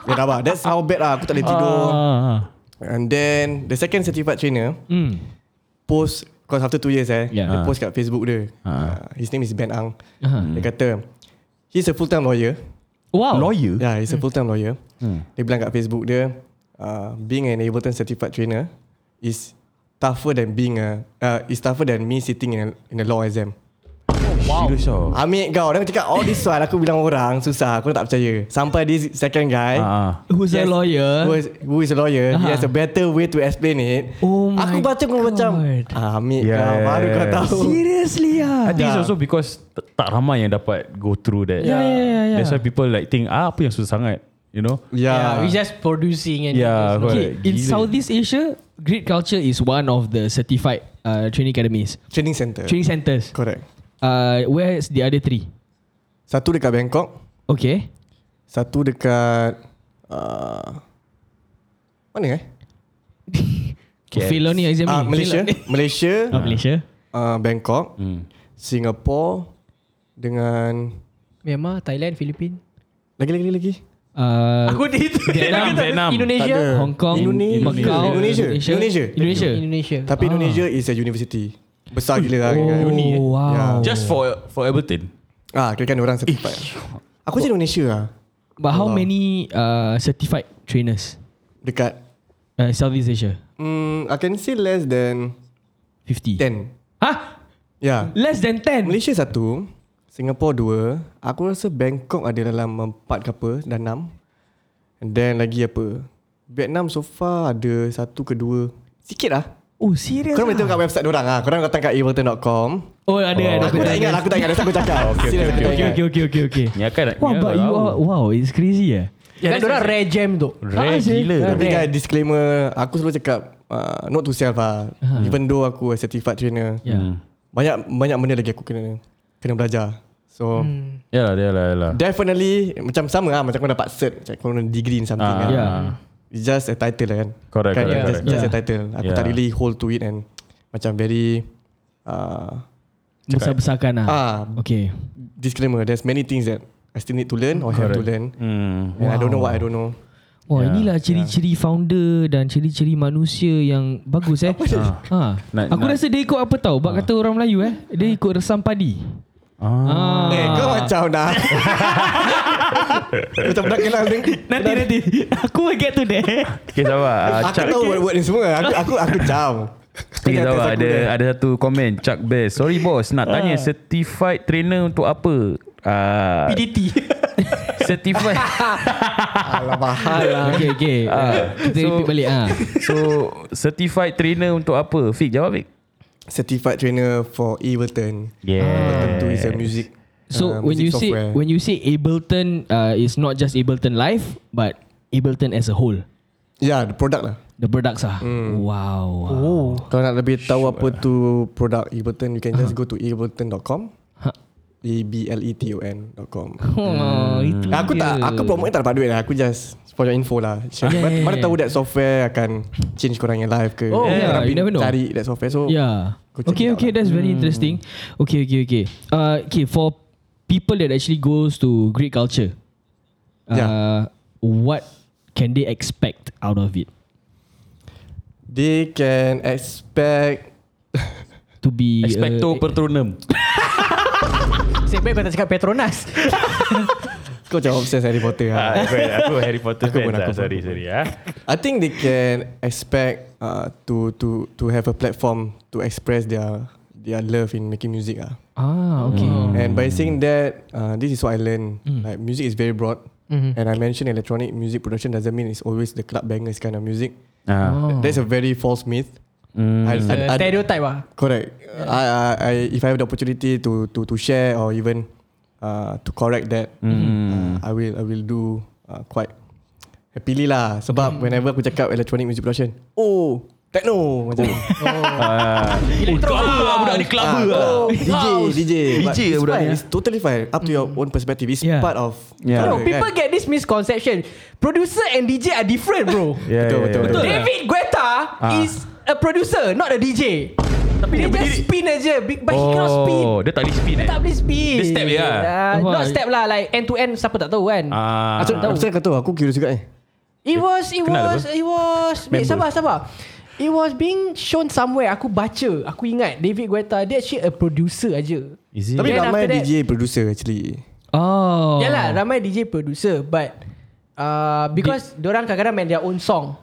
Speaker 5: Ya rabak That's how bad lah Aku tak boleh tidur
Speaker 2: Uh-huh.
Speaker 3: Ah.
Speaker 5: And then The second certified trainer
Speaker 3: Hmm.
Speaker 5: Post Cause after two years eh
Speaker 2: Yeah.
Speaker 5: Dia
Speaker 3: Ah.
Speaker 5: post kat Facebook dia
Speaker 3: Ah.
Speaker 5: uh, His name is Ben Ang
Speaker 2: Ah.
Speaker 5: Dia kata He's a full-time lawyer
Speaker 2: Wow.
Speaker 3: Lawyer?
Speaker 5: Yeah, Ya, he's a full-time lawyer.
Speaker 3: Hmm.
Speaker 5: Dia bilang kat Facebook dia, uh, being an Ableton certified trainer is tougher than being a uh, is tougher than me sitting in a, in a law exam.
Speaker 3: Wow. Serius tau.
Speaker 5: Ambil kau, dia cakap all this while aku bilang orang susah, aku tak percaya. Sampai this second guy
Speaker 3: Ah.
Speaker 2: Who's a
Speaker 5: Yes.
Speaker 2: lawyer?
Speaker 5: who is, who is a lawyer, uh-huh. he
Speaker 2: Aha.
Speaker 5: has a better way to explain it.
Speaker 2: Oh my
Speaker 5: aku baca kau macam,
Speaker 2: God.
Speaker 5: ah, ambil
Speaker 3: Yeah.
Speaker 5: kau, baru kau tahu.
Speaker 2: Seriously
Speaker 3: I
Speaker 2: ah.
Speaker 3: think it's
Speaker 5: Yeah.
Speaker 3: also because t- tak ramai yang dapat go through that.
Speaker 2: Yeah, yeah, yeah, yeah.
Speaker 3: That's why people like think ah apa yang susah sangat, you know?
Speaker 5: Yeah.
Speaker 7: we just producing and
Speaker 3: Yeah,
Speaker 2: Okay,
Speaker 3: correct.
Speaker 2: in
Speaker 3: Gila.
Speaker 2: Southeast Asia, Great Culture is one of the certified uh, training academies,
Speaker 5: Training center.
Speaker 2: training centers.
Speaker 5: Correct.
Speaker 2: Uh, where's the other three?
Speaker 5: Satu dekat Bangkok,
Speaker 2: Okay.
Speaker 5: satu dekat uh, mana eh?
Speaker 3: Yes.
Speaker 2: Felony exam.
Speaker 5: Ah, Malaysia, Malaysia,
Speaker 2: Oh, Malaysia.
Speaker 5: uh, Bangkok,
Speaker 3: Hmm.
Speaker 5: Singapore dengan
Speaker 7: Myanmar, Thailand, Filipina.
Speaker 5: lagi lagi lagi.
Speaker 2: Uh,
Speaker 7: Aku di itu.
Speaker 3: Vietnam, Vietnam.
Speaker 7: Indonesia.
Speaker 5: Tak ada.
Speaker 2: Hong Kong,
Speaker 5: Indonesia.
Speaker 2: Macau,
Speaker 5: Indonesia.
Speaker 2: Indonesia.
Speaker 5: Indonesia.
Speaker 2: Indonesia.
Speaker 7: Indonesia.
Speaker 5: Tapi Indonesia is a university. Besar gila lah.
Speaker 2: Oh,
Speaker 5: kan.
Speaker 2: wow.
Speaker 5: Yeah.
Speaker 3: Just for for Ableton.
Speaker 5: Ah, kira kan orang certified. Aku je Indonesia lah.
Speaker 2: But how many uh, certified trainers
Speaker 5: Dekat
Speaker 2: uh, Southeast Asia?
Speaker 5: mm, I can say less than
Speaker 2: 50.
Speaker 5: 10.
Speaker 2: Huh?
Speaker 5: Yeah.
Speaker 2: Less than 10?
Speaker 5: Malaysia satu, Singapore dua. Aku rasa Bangkok ada dalam empat ke apa, dan enam. And then lagi apa? Vietnam so far ada satu ke dua. Sikit lah.
Speaker 2: Oh, serious
Speaker 5: Korang boleh
Speaker 2: ah?
Speaker 5: tengok kat website dorang lah. Korang datang kat ableton.com.
Speaker 2: Oh,
Speaker 3: Oh,
Speaker 2: ada. ada,
Speaker 5: Aku
Speaker 2: ada, ada.
Speaker 5: tak ingat lah, aku tak ingat. That's aku cakap.
Speaker 3: Okay, okay,
Speaker 5: Serious, aku tak
Speaker 2: Okay,
Speaker 5: ingat.
Speaker 2: okay, okay, okay, okay.
Speaker 3: Ni akan
Speaker 2: Wow, but you are, wow, it's crazy eh.
Speaker 7: Kan orang rare jam
Speaker 2: Ah,
Speaker 7: tu.
Speaker 3: Rare gila.
Speaker 5: Tapi guys, disclaimer. Aku selalu cakap, uh, not to self lah. Even though aku a certified trainer.
Speaker 3: Hmm.
Speaker 2: Yeah.
Speaker 5: Banyak banyak benda lagi aku kena kena belajar. So,
Speaker 3: Yalah, yalah, yalah.
Speaker 5: definitely, macam sama lah. Macam kau dapat cert. Macam kau ada degree in something
Speaker 3: Ah,
Speaker 5: kan.
Speaker 2: Yeah.
Speaker 5: It's just a title lah kan.
Speaker 3: Correct,
Speaker 5: kan
Speaker 3: correct,
Speaker 5: just,
Speaker 3: correct.
Speaker 5: just a
Speaker 2: Yeah.
Speaker 5: title. Aku
Speaker 3: Yeah.
Speaker 5: tak really hold to it and macam very... Uh,
Speaker 2: Besar-besarkan lah.
Speaker 5: ah,
Speaker 2: Okay.
Speaker 5: disclaimer, there's many things that I still need to learn or have to learn.
Speaker 3: Hmm.
Speaker 5: And I don't know what I don't know.
Speaker 2: Wah, inilah ciri-ciri founder dan ciri-ciri manusia yang bagus eh. Ha.
Speaker 3: Nak-
Speaker 2: Aku
Speaker 3: nak-
Speaker 2: rasa dia ikut apa tau? Bak kata orang Melayu eh. Dia ikut resam padi. Ah.
Speaker 5: Eh, kau macam dah. Betul betul kenal dengan
Speaker 2: Nanti nanti Aku will get to that
Speaker 3: Okay, sabar. Ah,
Speaker 5: Aku
Speaker 3: Chuck,
Speaker 5: tahu word-word ni semua. Aku aku aku jam.
Speaker 3: okay, sabar. Ada, ada satu Ah. komen. Chuck Best. Sorry, boss. Nak tanya, certified trainer untuk apa? Ah,
Speaker 7: PDT.
Speaker 3: certified.
Speaker 5: Alah mahal lah.
Speaker 2: Okay okay
Speaker 3: Ah.
Speaker 2: uh, Kita
Speaker 3: So-
Speaker 2: repeat balik ah.
Speaker 3: so, certified trainer untuk apa? Fik, jawab, Fik.
Speaker 5: Certified trainer for Ableton. Ableton
Speaker 3: Yeah.
Speaker 5: tu is a music.
Speaker 2: So
Speaker 5: uh,
Speaker 2: when you
Speaker 5: music
Speaker 2: say
Speaker 5: software.
Speaker 2: When you say Ableton uh, It's not just Ableton Live But Ableton as a whole
Speaker 5: yeah, the product lah.
Speaker 2: The products ah.
Speaker 5: Hmm.
Speaker 2: Wow oh.
Speaker 5: Kalau nak lebih tahu apa tu produk Ableton, you can just go to ableton.com.
Speaker 2: Uh-huh. Ha.
Speaker 5: E B L E T O N.com.
Speaker 2: Oh, itu
Speaker 5: Aku
Speaker 2: dia.
Speaker 5: tak Aku promote tak dapat duit lah Aku just For your info lah Sure.
Speaker 2: Yeah,
Speaker 5: Mana
Speaker 2: yeah,
Speaker 5: mana
Speaker 2: yeah.
Speaker 5: tahu that software Akan change korang yang live ke
Speaker 2: Oh, yeah,
Speaker 5: Tapi
Speaker 2: you never know.
Speaker 5: Cari that software So
Speaker 2: Yeah.
Speaker 5: Go check
Speaker 2: Okay,
Speaker 5: it out
Speaker 2: okay,
Speaker 5: lah.
Speaker 2: that's very interesting. Okay, okay, okay. Uh, okay, for people that actually goes to Greek culture, uh,
Speaker 5: Yeah.
Speaker 2: what can they expect out of it?
Speaker 5: They can expect
Speaker 2: To be uh,
Speaker 3: Expecto Patronum.
Speaker 7: Saya baik kau tak cakap Petronas.
Speaker 5: Kau macam obsessed Harry Potter lah.
Speaker 3: Ah, aku- aku Harry Potter
Speaker 5: Aku
Speaker 3: fan
Speaker 5: pun,
Speaker 3: lah.
Speaker 5: aku pun,
Speaker 3: Sorry,
Speaker 5: aku
Speaker 3: sorry. ah.
Speaker 5: I think they can expect uh, to to to have a platform to express their their love in making music ah.
Speaker 2: Ah, okay.
Speaker 5: And by saying that, uh, this is what I learned. Like music is very broad, and I mentioned electronic music production doesn't mean it's always the club bangers kind of music.
Speaker 3: Ah.
Speaker 2: Oh.
Speaker 5: That's a very false myth. I,
Speaker 7: Uh,
Speaker 5: I- I-
Speaker 7: Stereotype lah.
Speaker 5: Correct. I, I, I, if I have the opportunity to to to share or even uh, to correct that, uh, I will I will do uh, quite happily lah. Sebab whenever aku cakap electronic music production, oh techno macam
Speaker 7: Elektro.
Speaker 3: budak ni
Speaker 5: ah, oh, DJ DJ
Speaker 3: DJ
Speaker 5: But it's
Speaker 3: budak ni.
Speaker 5: fine. Mm. It's totally fine. Up to your own perspective. It's
Speaker 2: Yeah.
Speaker 5: part of
Speaker 3: Yeah.
Speaker 5: genre,
Speaker 7: No, people
Speaker 5: kan?
Speaker 7: get this misconception. Producer and DJ are different, bro.
Speaker 3: Yeah,
Speaker 5: Betul,
Speaker 3: yeah,
Speaker 5: betul,
Speaker 3: yeah.
Speaker 5: betul.
Speaker 7: David Guetta
Speaker 3: Ah.
Speaker 7: is a producer, not a DJ. Tapi dia, just spin aja, big but he cannot spin.
Speaker 3: Oh, dia tak boleh spin.
Speaker 7: Dia
Speaker 3: eh?
Speaker 7: tak boleh spin.
Speaker 3: Dia step je lah.
Speaker 7: Ah,
Speaker 2: Why?
Speaker 7: not step lah, like end to end siapa tak tahu kan.
Speaker 3: Ah.
Speaker 5: Asal, asal kau tahu aku curious juga eh. ni.
Speaker 7: It was It
Speaker 3: Kenal
Speaker 7: was
Speaker 3: apa?
Speaker 7: It was Wait
Speaker 3: Member.
Speaker 7: sabar sabar It was being shown somewhere Aku baca Aku ingat David Guetta Dia actually a producer aja
Speaker 3: Is it?
Speaker 5: Tapi
Speaker 7: Then
Speaker 5: ramai
Speaker 7: after that-
Speaker 5: DJ producer actually.
Speaker 2: Oh.
Speaker 7: Yalah ramai DJ producer But uh, Because Diorang kadang-kadang main their own song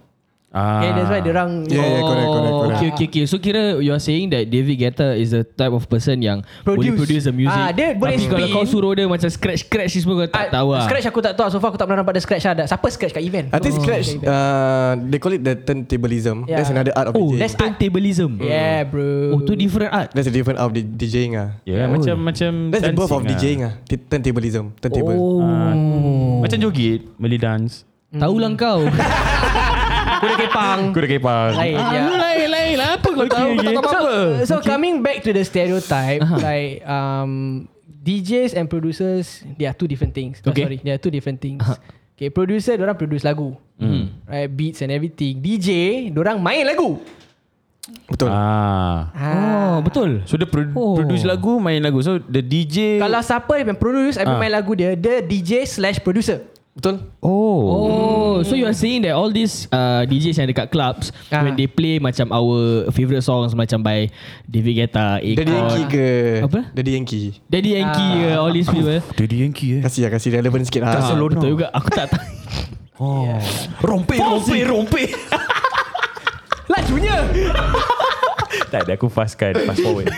Speaker 3: Ah.
Speaker 7: Okay that's why Diorang
Speaker 5: Yeah, yeah, correct, correct, correct.
Speaker 2: Oh, Okay, okay, okay. So kira you are saying that David Guetta is the type of person yang boleh
Speaker 7: Produce.
Speaker 2: produce the music.
Speaker 7: Ah, dia boleh
Speaker 2: Tapi kalau
Speaker 7: spin.
Speaker 2: kau suruh dia macam scratch-scratch ni semua kau tak tahu
Speaker 7: ah.
Speaker 2: lah.
Speaker 7: Scratch aku tak tahu So far aku tak pernah nampak Ada scratch lah. ada. Siapa scratch kat event Oh,
Speaker 5: I think scratch uh, they call it the turntablism.
Speaker 7: Yeah.
Speaker 5: Yeah. That's another art of
Speaker 2: Oh,
Speaker 5: DJ.
Speaker 2: that's turntablism.
Speaker 7: Yeah Ah. bro
Speaker 2: Oh, tu different art.
Speaker 5: That's a different art of di- DJing ah.
Speaker 3: Yeah, macam macam
Speaker 5: That's the birth
Speaker 3: dancing
Speaker 5: of DJing ah. T- turntablism, turntable.
Speaker 2: Oh.
Speaker 3: Ah, Macam joget, Malay dance.
Speaker 2: Tahu lah kau.
Speaker 7: Kuda kepang
Speaker 3: Kuda kepang.
Speaker 7: Lain ya.
Speaker 2: Ah, lain, lain lah. Apa kau tahu?
Speaker 3: okay.
Speaker 7: So, so coming back to the stereotype,
Speaker 2: Uh-huh.
Speaker 7: like um, DJs and producers, they are two different things. Oh,
Speaker 2: Okay. Uh-huh.
Speaker 7: sorry, they are two different things. Okay, producer, orang produce lagu,
Speaker 2: Hmm.
Speaker 7: right, beats and everything. DJ, orang main lagu.
Speaker 5: Betul.
Speaker 3: Ah.
Speaker 2: Oh, betul.
Speaker 3: So dia pro-
Speaker 2: Oh.
Speaker 3: produce lagu, main lagu. So the DJ
Speaker 7: Kalau siapa yang produce,
Speaker 2: Ah.
Speaker 7: yang main lagu dia, dia DJ slash producer.
Speaker 5: Betul?
Speaker 3: Oh.
Speaker 2: Oh, so you are saying that all these uh, DJs yang dekat clubs
Speaker 7: Ah.
Speaker 2: when they play macam our favourite songs macam by David Guetta,
Speaker 5: Daddy
Speaker 2: Akon,
Speaker 5: Yankee ke?
Speaker 2: Apa?
Speaker 5: Daddy Yankee.
Speaker 2: Daddy Yankee,
Speaker 7: Ah.
Speaker 2: uh, all these people.
Speaker 3: Daddy Yankee eh.
Speaker 5: Kasih lah, kasih relevant sikit lah.
Speaker 2: Ah, Betul juga. Aku tak tahu.
Speaker 3: Oh. Rompe rompe rompe.
Speaker 7: Lajunya.
Speaker 3: tak ada aku fast kan, fast forward.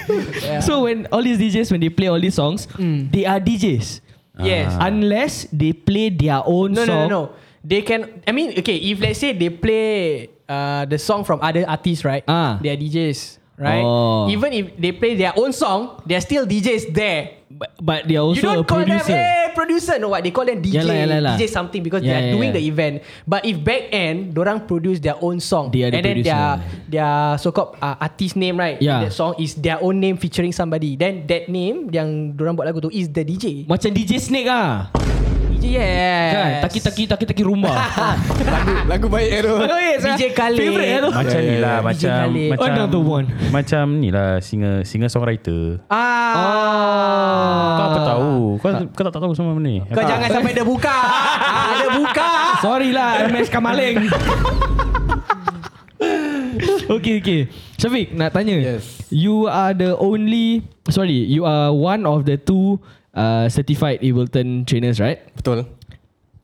Speaker 2: So when all these DJs when they play all these songs, they are DJs.
Speaker 7: Mm. Ah. yes.
Speaker 2: Unless they play their own
Speaker 7: No, no,
Speaker 2: song.
Speaker 7: no, no. They can. I mean, okay. If let's say they play uh, the song from other artists, right?
Speaker 2: Ah.
Speaker 7: They are DJs, right?
Speaker 2: Oh.
Speaker 7: Even if they play their own song, they are still DJs there.
Speaker 2: But, but they are
Speaker 7: you
Speaker 2: also a
Speaker 7: don't call
Speaker 2: producer.
Speaker 7: them eh producer. No, what they call them DJ,
Speaker 2: Yalah, yalah, yalah.
Speaker 7: DJ something because
Speaker 2: Yeah,
Speaker 7: they are
Speaker 2: yeah,
Speaker 7: doing
Speaker 2: yeah.
Speaker 7: the event. But if back end, orang produce their own song,
Speaker 2: They are the
Speaker 7: and then their
Speaker 2: producer.
Speaker 7: their so called uh, artist name, right?
Speaker 2: Yeah.
Speaker 7: That song is their own name featuring somebody. Then that name yang orang buat lagu tu is the DJ.
Speaker 2: Macam DJ Snake ah.
Speaker 7: DJ yes.
Speaker 2: Kan? Taki-taki taki-taki rumah.
Speaker 5: Lagu baik eh, Aero.
Speaker 7: Oh, DJ Khaled.
Speaker 2: Favorite eh tu.
Speaker 3: macam ni lah,
Speaker 7: yeah.
Speaker 3: macam
Speaker 7: DJ Khaled.
Speaker 3: macam
Speaker 2: Another one.
Speaker 3: Macam ni lah singer singer songwriter.
Speaker 7: Ah.
Speaker 3: Kau apa tahu? Kau tak. kau tak, tahu semua benda ni.
Speaker 7: Kau jangan sampai dia buka. ah, dia buka.
Speaker 2: Sorry lah MS Kamaling Okay okay Syafiq nak tanya
Speaker 5: Yes.
Speaker 2: You are the only Sorry You are one of the two uh, Certified Ableton trainers right
Speaker 5: Betul.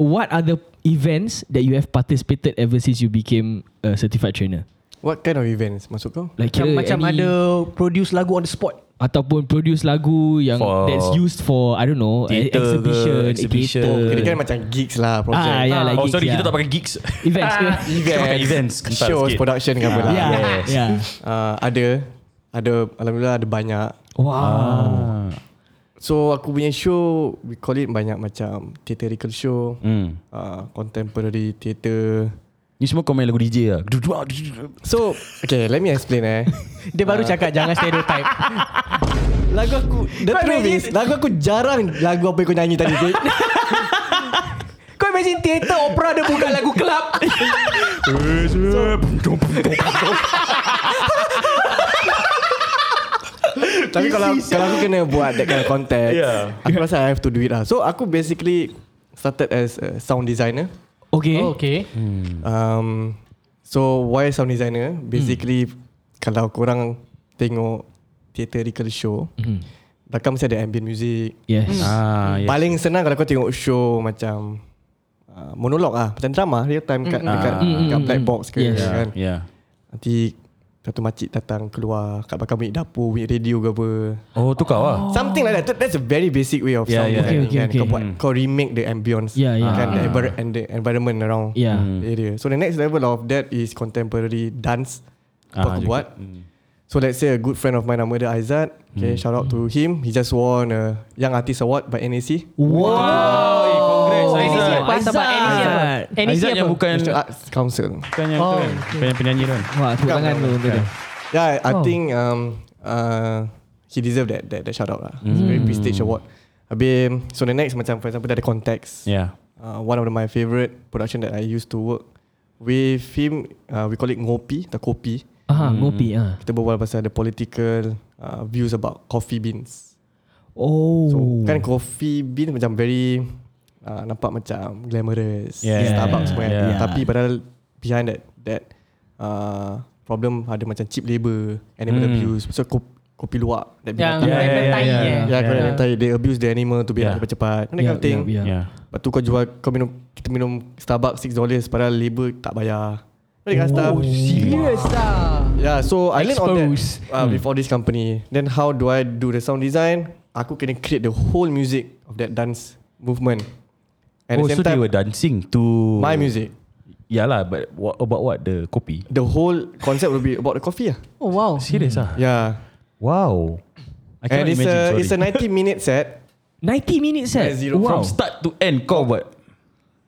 Speaker 2: What are the events That you have participated Ever since you became A certified trainer
Speaker 5: What kind of events masuk kau?
Speaker 2: Like
Speaker 7: Macam,
Speaker 2: kira
Speaker 7: macam
Speaker 2: any-
Speaker 7: ada produce lagu on the spot.
Speaker 2: Ataupun produce lagu Yang
Speaker 3: For-
Speaker 2: that's used for I don't know
Speaker 3: Theatre
Speaker 2: e-
Speaker 3: ke,
Speaker 2: Exhibition
Speaker 3: exhibition.
Speaker 2: theatre.
Speaker 5: Oh, Kira-kira macam gigs lah, project.
Speaker 2: Ah, yeah, like
Speaker 3: oh
Speaker 2: gigs,
Speaker 3: sorry
Speaker 2: yeah.
Speaker 3: kita tak pakai gigs.
Speaker 2: Events ke?
Speaker 3: Kita pakai events. Kental
Speaker 5: Shows,
Speaker 3: sikit. Ya.
Speaker 5: production ke apa lah.
Speaker 2: Yeah,
Speaker 3: Yes.
Speaker 2: yeah.
Speaker 5: Ah, ada. Ada, Alhamdulillah ada banyak.
Speaker 2: Wow
Speaker 3: Ah.
Speaker 5: So aku punya show, we call it banyak macam theatrical show,
Speaker 3: Hmm.
Speaker 5: ah, contemporary theatre.
Speaker 3: Ni semua kau main lagu DJ lah.
Speaker 5: So, okay, let me explain eh.
Speaker 7: Dia
Speaker 2: Ah.
Speaker 7: baru cakap jangan stereotype.
Speaker 5: Lagu aku, the truth is, lagu aku jarang lagu apa yang kau nyanyi tadi. Dik.
Speaker 7: Kau imagine theater opera dia buka lagu club.
Speaker 5: Tapi kalau kalau aku kena buat that kind of context,
Speaker 3: Yeah.
Speaker 5: aku rasa I have to do it lah. So aku basically started as a sound designer.
Speaker 2: Oh, Okay
Speaker 7: Oh, okay.
Speaker 5: Um, so why sound designer?
Speaker 2: Hmm.
Speaker 5: Basically kalau korang tengok theatrical show, mm-hmm. belakang mesti ada ambient music.
Speaker 2: Hmm. Yes
Speaker 3: Ah,
Speaker 5: Yes.
Speaker 3: yeah.
Speaker 5: Paling senang kalau kau tengok show macam uh, monolog ah, macam drama real time kat mm-hmm. dekat,
Speaker 2: Mm,
Speaker 5: mm-hmm. dekat
Speaker 2: mm,
Speaker 5: black
Speaker 2: mm.
Speaker 5: box ke
Speaker 3: Ya.
Speaker 2: Yes.
Speaker 5: kan.
Speaker 3: Yeah.
Speaker 5: Nanti satu makcik datang keluar kat belakang bunyi dapur, bunyi radio ke apa.
Speaker 3: Oh, tu kau lah.
Speaker 5: Something like that. That- That's a very basic way of
Speaker 3: Yeah,
Speaker 5: sound
Speaker 3: yeah.
Speaker 5: designing.
Speaker 2: Okay, okay,
Speaker 5: kan. Kau
Speaker 2: okay.
Speaker 5: buat, kau remake the ambience,
Speaker 2: Yeah, yeah. Ah.
Speaker 5: kan, the envir- and the environment around
Speaker 2: Yeah.
Speaker 3: Hmm. Ya.
Speaker 5: the area. So the next level of that is contemporary dance. Apa
Speaker 3: Ah,
Speaker 5: aku
Speaker 3: juga.
Speaker 5: buat. So let's say a good friend of mine nama dia Aizat. Okay,
Speaker 3: Hmm.
Speaker 5: shout out to him. He just won a Young Artist Award by NAC.
Speaker 2: Wow
Speaker 3: Congrats,
Speaker 7: NEC apa?
Speaker 2: Aizat.
Speaker 7: Sabar, NEC apa? NEC
Speaker 3: Aizat yang
Speaker 7: apa?
Speaker 3: bukan
Speaker 5: National Arts Council.
Speaker 3: bukan yang tu kan. Bukan yang penyanyi tu kan.
Speaker 2: Wah, tepuk tangan tu untuk dia.
Speaker 5: Yeah, I think um uh, he deserve that that, that shout out lah. It's a
Speaker 3: Hmm.
Speaker 5: very prestige award. Habis, so the next macam for example dia ada context.
Speaker 3: Yeah.
Speaker 5: uh, one of the, my favorite production that I used to work with him. Uh, we call it ngopi, the kopi.
Speaker 2: Aha, ngopi ah.
Speaker 5: Kita berbual pasal the political uh, views about coffee beans.
Speaker 2: Oh.
Speaker 5: kan So kan coffee beans macam very uh, nampak macam glamorous,
Speaker 3: Yeah.
Speaker 5: yeah. Starbucks semua.
Speaker 3: Yeah.
Speaker 5: Yeah. Tapi padahal behind that that uh, problem ada macam cheap labour, animal
Speaker 3: Hmm.
Speaker 5: abuse, so kopi, kopi luak that
Speaker 7: Yang
Speaker 5: binatang.
Speaker 3: yeah, yeah,
Speaker 7: mentai
Speaker 3: yeah.
Speaker 7: eh.
Speaker 5: Yeah, yeah,
Speaker 3: ya. Yeah.
Speaker 5: yeah. Entire, they abuse the animal to be
Speaker 3: Yeah.
Speaker 5: yeah. cepat-cepat. That
Speaker 2: Yeah,
Speaker 5: kind of thing.
Speaker 2: yeah, yeah.
Speaker 3: Yeah.
Speaker 5: Lepas tu kau jual kau minum kita minum Starbucks 6 dollars padahal label tak bayar. Kau
Speaker 3: Oh,
Speaker 5: dekat staff.
Speaker 7: Serious lah.
Speaker 5: Yeah, so I learned on that
Speaker 3: Expose. Hmm.
Speaker 5: uh, before this company. Then how do I do the sound design? Aku kena create the whole music of that dance movement. And
Speaker 3: oh,
Speaker 5: at
Speaker 3: so
Speaker 5: the same
Speaker 3: they
Speaker 5: time,
Speaker 3: were dancing to
Speaker 5: my music.
Speaker 3: Yeah lah, but what, about what the kopi?
Speaker 5: The whole concept will be about the coffee lah.
Speaker 7: Oh wow.
Speaker 3: Serious ah?
Speaker 5: Yeah.
Speaker 3: Wow. I
Speaker 5: And
Speaker 3: cannot
Speaker 5: it's
Speaker 3: imagine.
Speaker 5: a
Speaker 3: sorry.
Speaker 5: it's a 90 minute set.
Speaker 2: 90 minutes eh?
Speaker 5: Yeah, zero
Speaker 2: Wow.
Speaker 3: From start to end kau buat.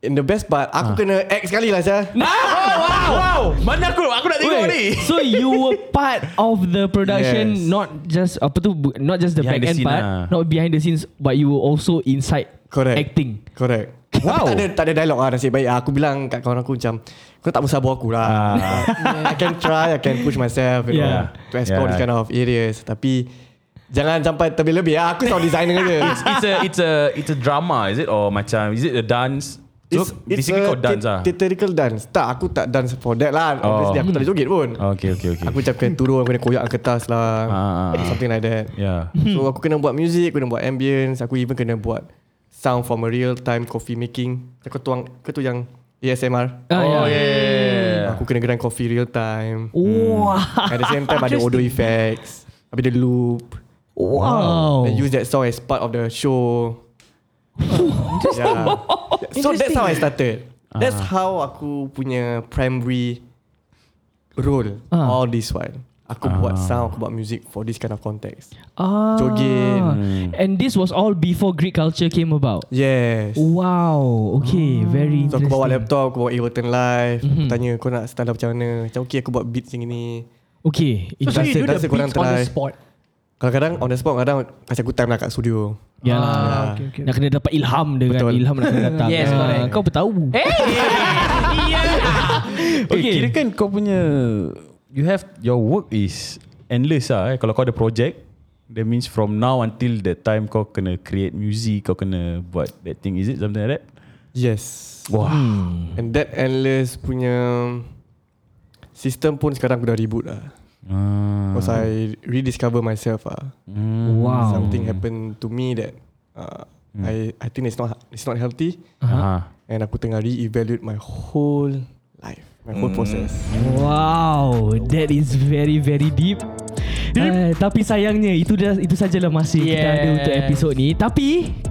Speaker 5: In the best part,
Speaker 3: Ah.
Speaker 5: aku kena act sekali lah saya.
Speaker 3: Wow, wow. Mana aku? Aku nak
Speaker 2: Wait, so you were part of the production,
Speaker 5: Yes.
Speaker 2: not just apa tu, bu- not just the
Speaker 3: Behind
Speaker 2: back
Speaker 3: the
Speaker 2: end
Speaker 3: scene
Speaker 2: part,
Speaker 3: lah.
Speaker 7: ah.
Speaker 2: not behind the scenes, but you were also inside
Speaker 5: Correct.
Speaker 2: acting.
Speaker 5: Correct.
Speaker 3: Wow.
Speaker 5: Wow. tak ada tak ada dialog ah nasib baik. Aku bilang kat kawan aku macam kau tak bersabar aku lah. I can try, I can push myself you
Speaker 2: Yeah.
Speaker 5: yeah. know to explore
Speaker 3: Ah. Yeah.
Speaker 5: yeah. this kind of areas tapi jangan sampai terlebih-lebih. Ah, Aku sound designer je.
Speaker 3: It's, it's a it's a it's a drama is it or macam is it a dance? So basically kau dance ah.
Speaker 5: Theatrical dance. Tak, aku tak dance for that lah.
Speaker 3: Oh.
Speaker 5: Obviously aku tak boleh joget pun.
Speaker 3: Oh, okay, okay, okay.
Speaker 5: Aku macam kena turun, aku kena koyak kertas lah.
Speaker 3: Ah, ah, ah.
Speaker 5: Something like that.
Speaker 3: yeah.
Speaker 5: So aku kena buat music, kena buat ambience, aku even kena buat sound from a real time coffee making. Aku tuang ke tu yang ASMR.
Speaker 2: Ah,
Speaker 3: Oh yeah.
Speaker 2: yeah.
Speaker 3: yeah.
Speaker 7: Ya.
Speaker 5: Aku kena grind coffee real time. Hmm.
Speaker 2: Wow.
Speaker 5: At the same time ada audio effects. Habis ada loop.
Speaker 2: Wow.
Speaker 5: And use that song as part of the show. yeah. So that's how I started.
Speaker 7: Ah.
Speaker 5: That's how aku punya primary role
Speaker 2: Ah.
Speaker 5: all this while. Aku
Speaker 7: Ah.
Speaker 5: buat sound, aku buat music for this kind of context.
Speaker 2: Ah.
Speaker 5: Joget.
Speaker 3: Hmm.
Speaker 2: And this was all before Greek culture came about.
Speaker 5: Yes.
Speaker 2: Wow.
Speaker 7: Eh,
Speaker 2: Okay.
Speaker 7: Hmm.
Speaker 2: Very
Speaker 5: So
Speaker 2: interesting.
Speaker 5: aku bawa laptop, aku bawa Ableton Live. Mm-hmm. Aku tanya kau nak stand up macam mana. Macam okay aku buat beats yang ni.
Speaker 2: Okay.
Speaker 7: So
Speaker 5: Rasa-
Speaker 7: you do the
Speaker 5: rasa korang
Speaker 7: beats on the
Speaker 5: try.
Speaker 7: spot.
Speaker 5: Kadang-kadang on the spot, kadang kasi aku time lah kat studio.
Speaker 2: Ya lah.
Speaker 7: Ah, okay, okay.
Speaker 2: Nak kena dapat ilham dengan
Speaker 5: Betul.
Speaker 2: ilham nak kena datang.
Speaker 7: Yes,
Speaker 2: Ah,
Speaker 7: correct.
Speaker 2: Kau bertahu.
Speaker 7: Eh?
Speaker 3: Okay. Kira kan kau punya you have your work is endless ah. Eh. Kalau kau ada project that means from now until the time kau kena create music, kau kena buat that thing. Is it something like that?
Speaker 5: Yes.
Speaker 3: Wah. Hmm.
Speaker 5: And that endless punya system pun sekarang aku dah reboot lah.
Speaker 3: Ah.
Speaker 5: Because I rediscover myself lah.
Speaker 2: Wow.
Speaker 5: Something happened to me that uh, I I think it's not it's not healthy.
Speaker 3: Uh-huh.
Speaker 5: And aku tengah re-evaluate my whole life. My whole process.
Speaker 2: Wow, that is very very deep. Uh, tapi sayangnya itu dah itu sajalah masa yes. kita ada untuk
Speaker 7: Eh, Yes.
Speaker 2: episod ni. Tapi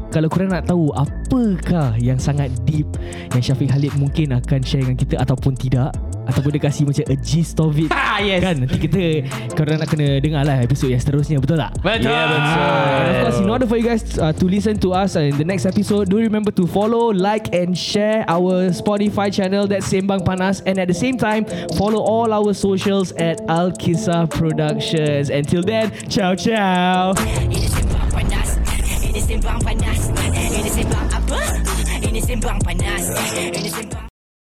Speaker 2: kalau korang nak tahu apakah yang sangat deep yang Syafiq Khalid mungkin akan share dengan kita ataupun tidak ataupun dia kasih macam a gist of it.
Speaker 7: Ah, yes.
Speaker 2: Kan nanti kita korang nak kena dengar lah episod yang seterusnya betul tak?
Speaker 7: Betul. Yeah,
Speaker 2: And Ah, of course, in order for you guys uh, to listen to us in the next episode, do remember to follow, like, and share our Spotify channel. That's Sembang Panas. And at the same time, follow all our socials at Al Kisah Productions. Until then, ciao ciao.
Speaker 4: Ini sembang panas Ini sembang panas Ini sembang apa Ini sembang panas Ini sembang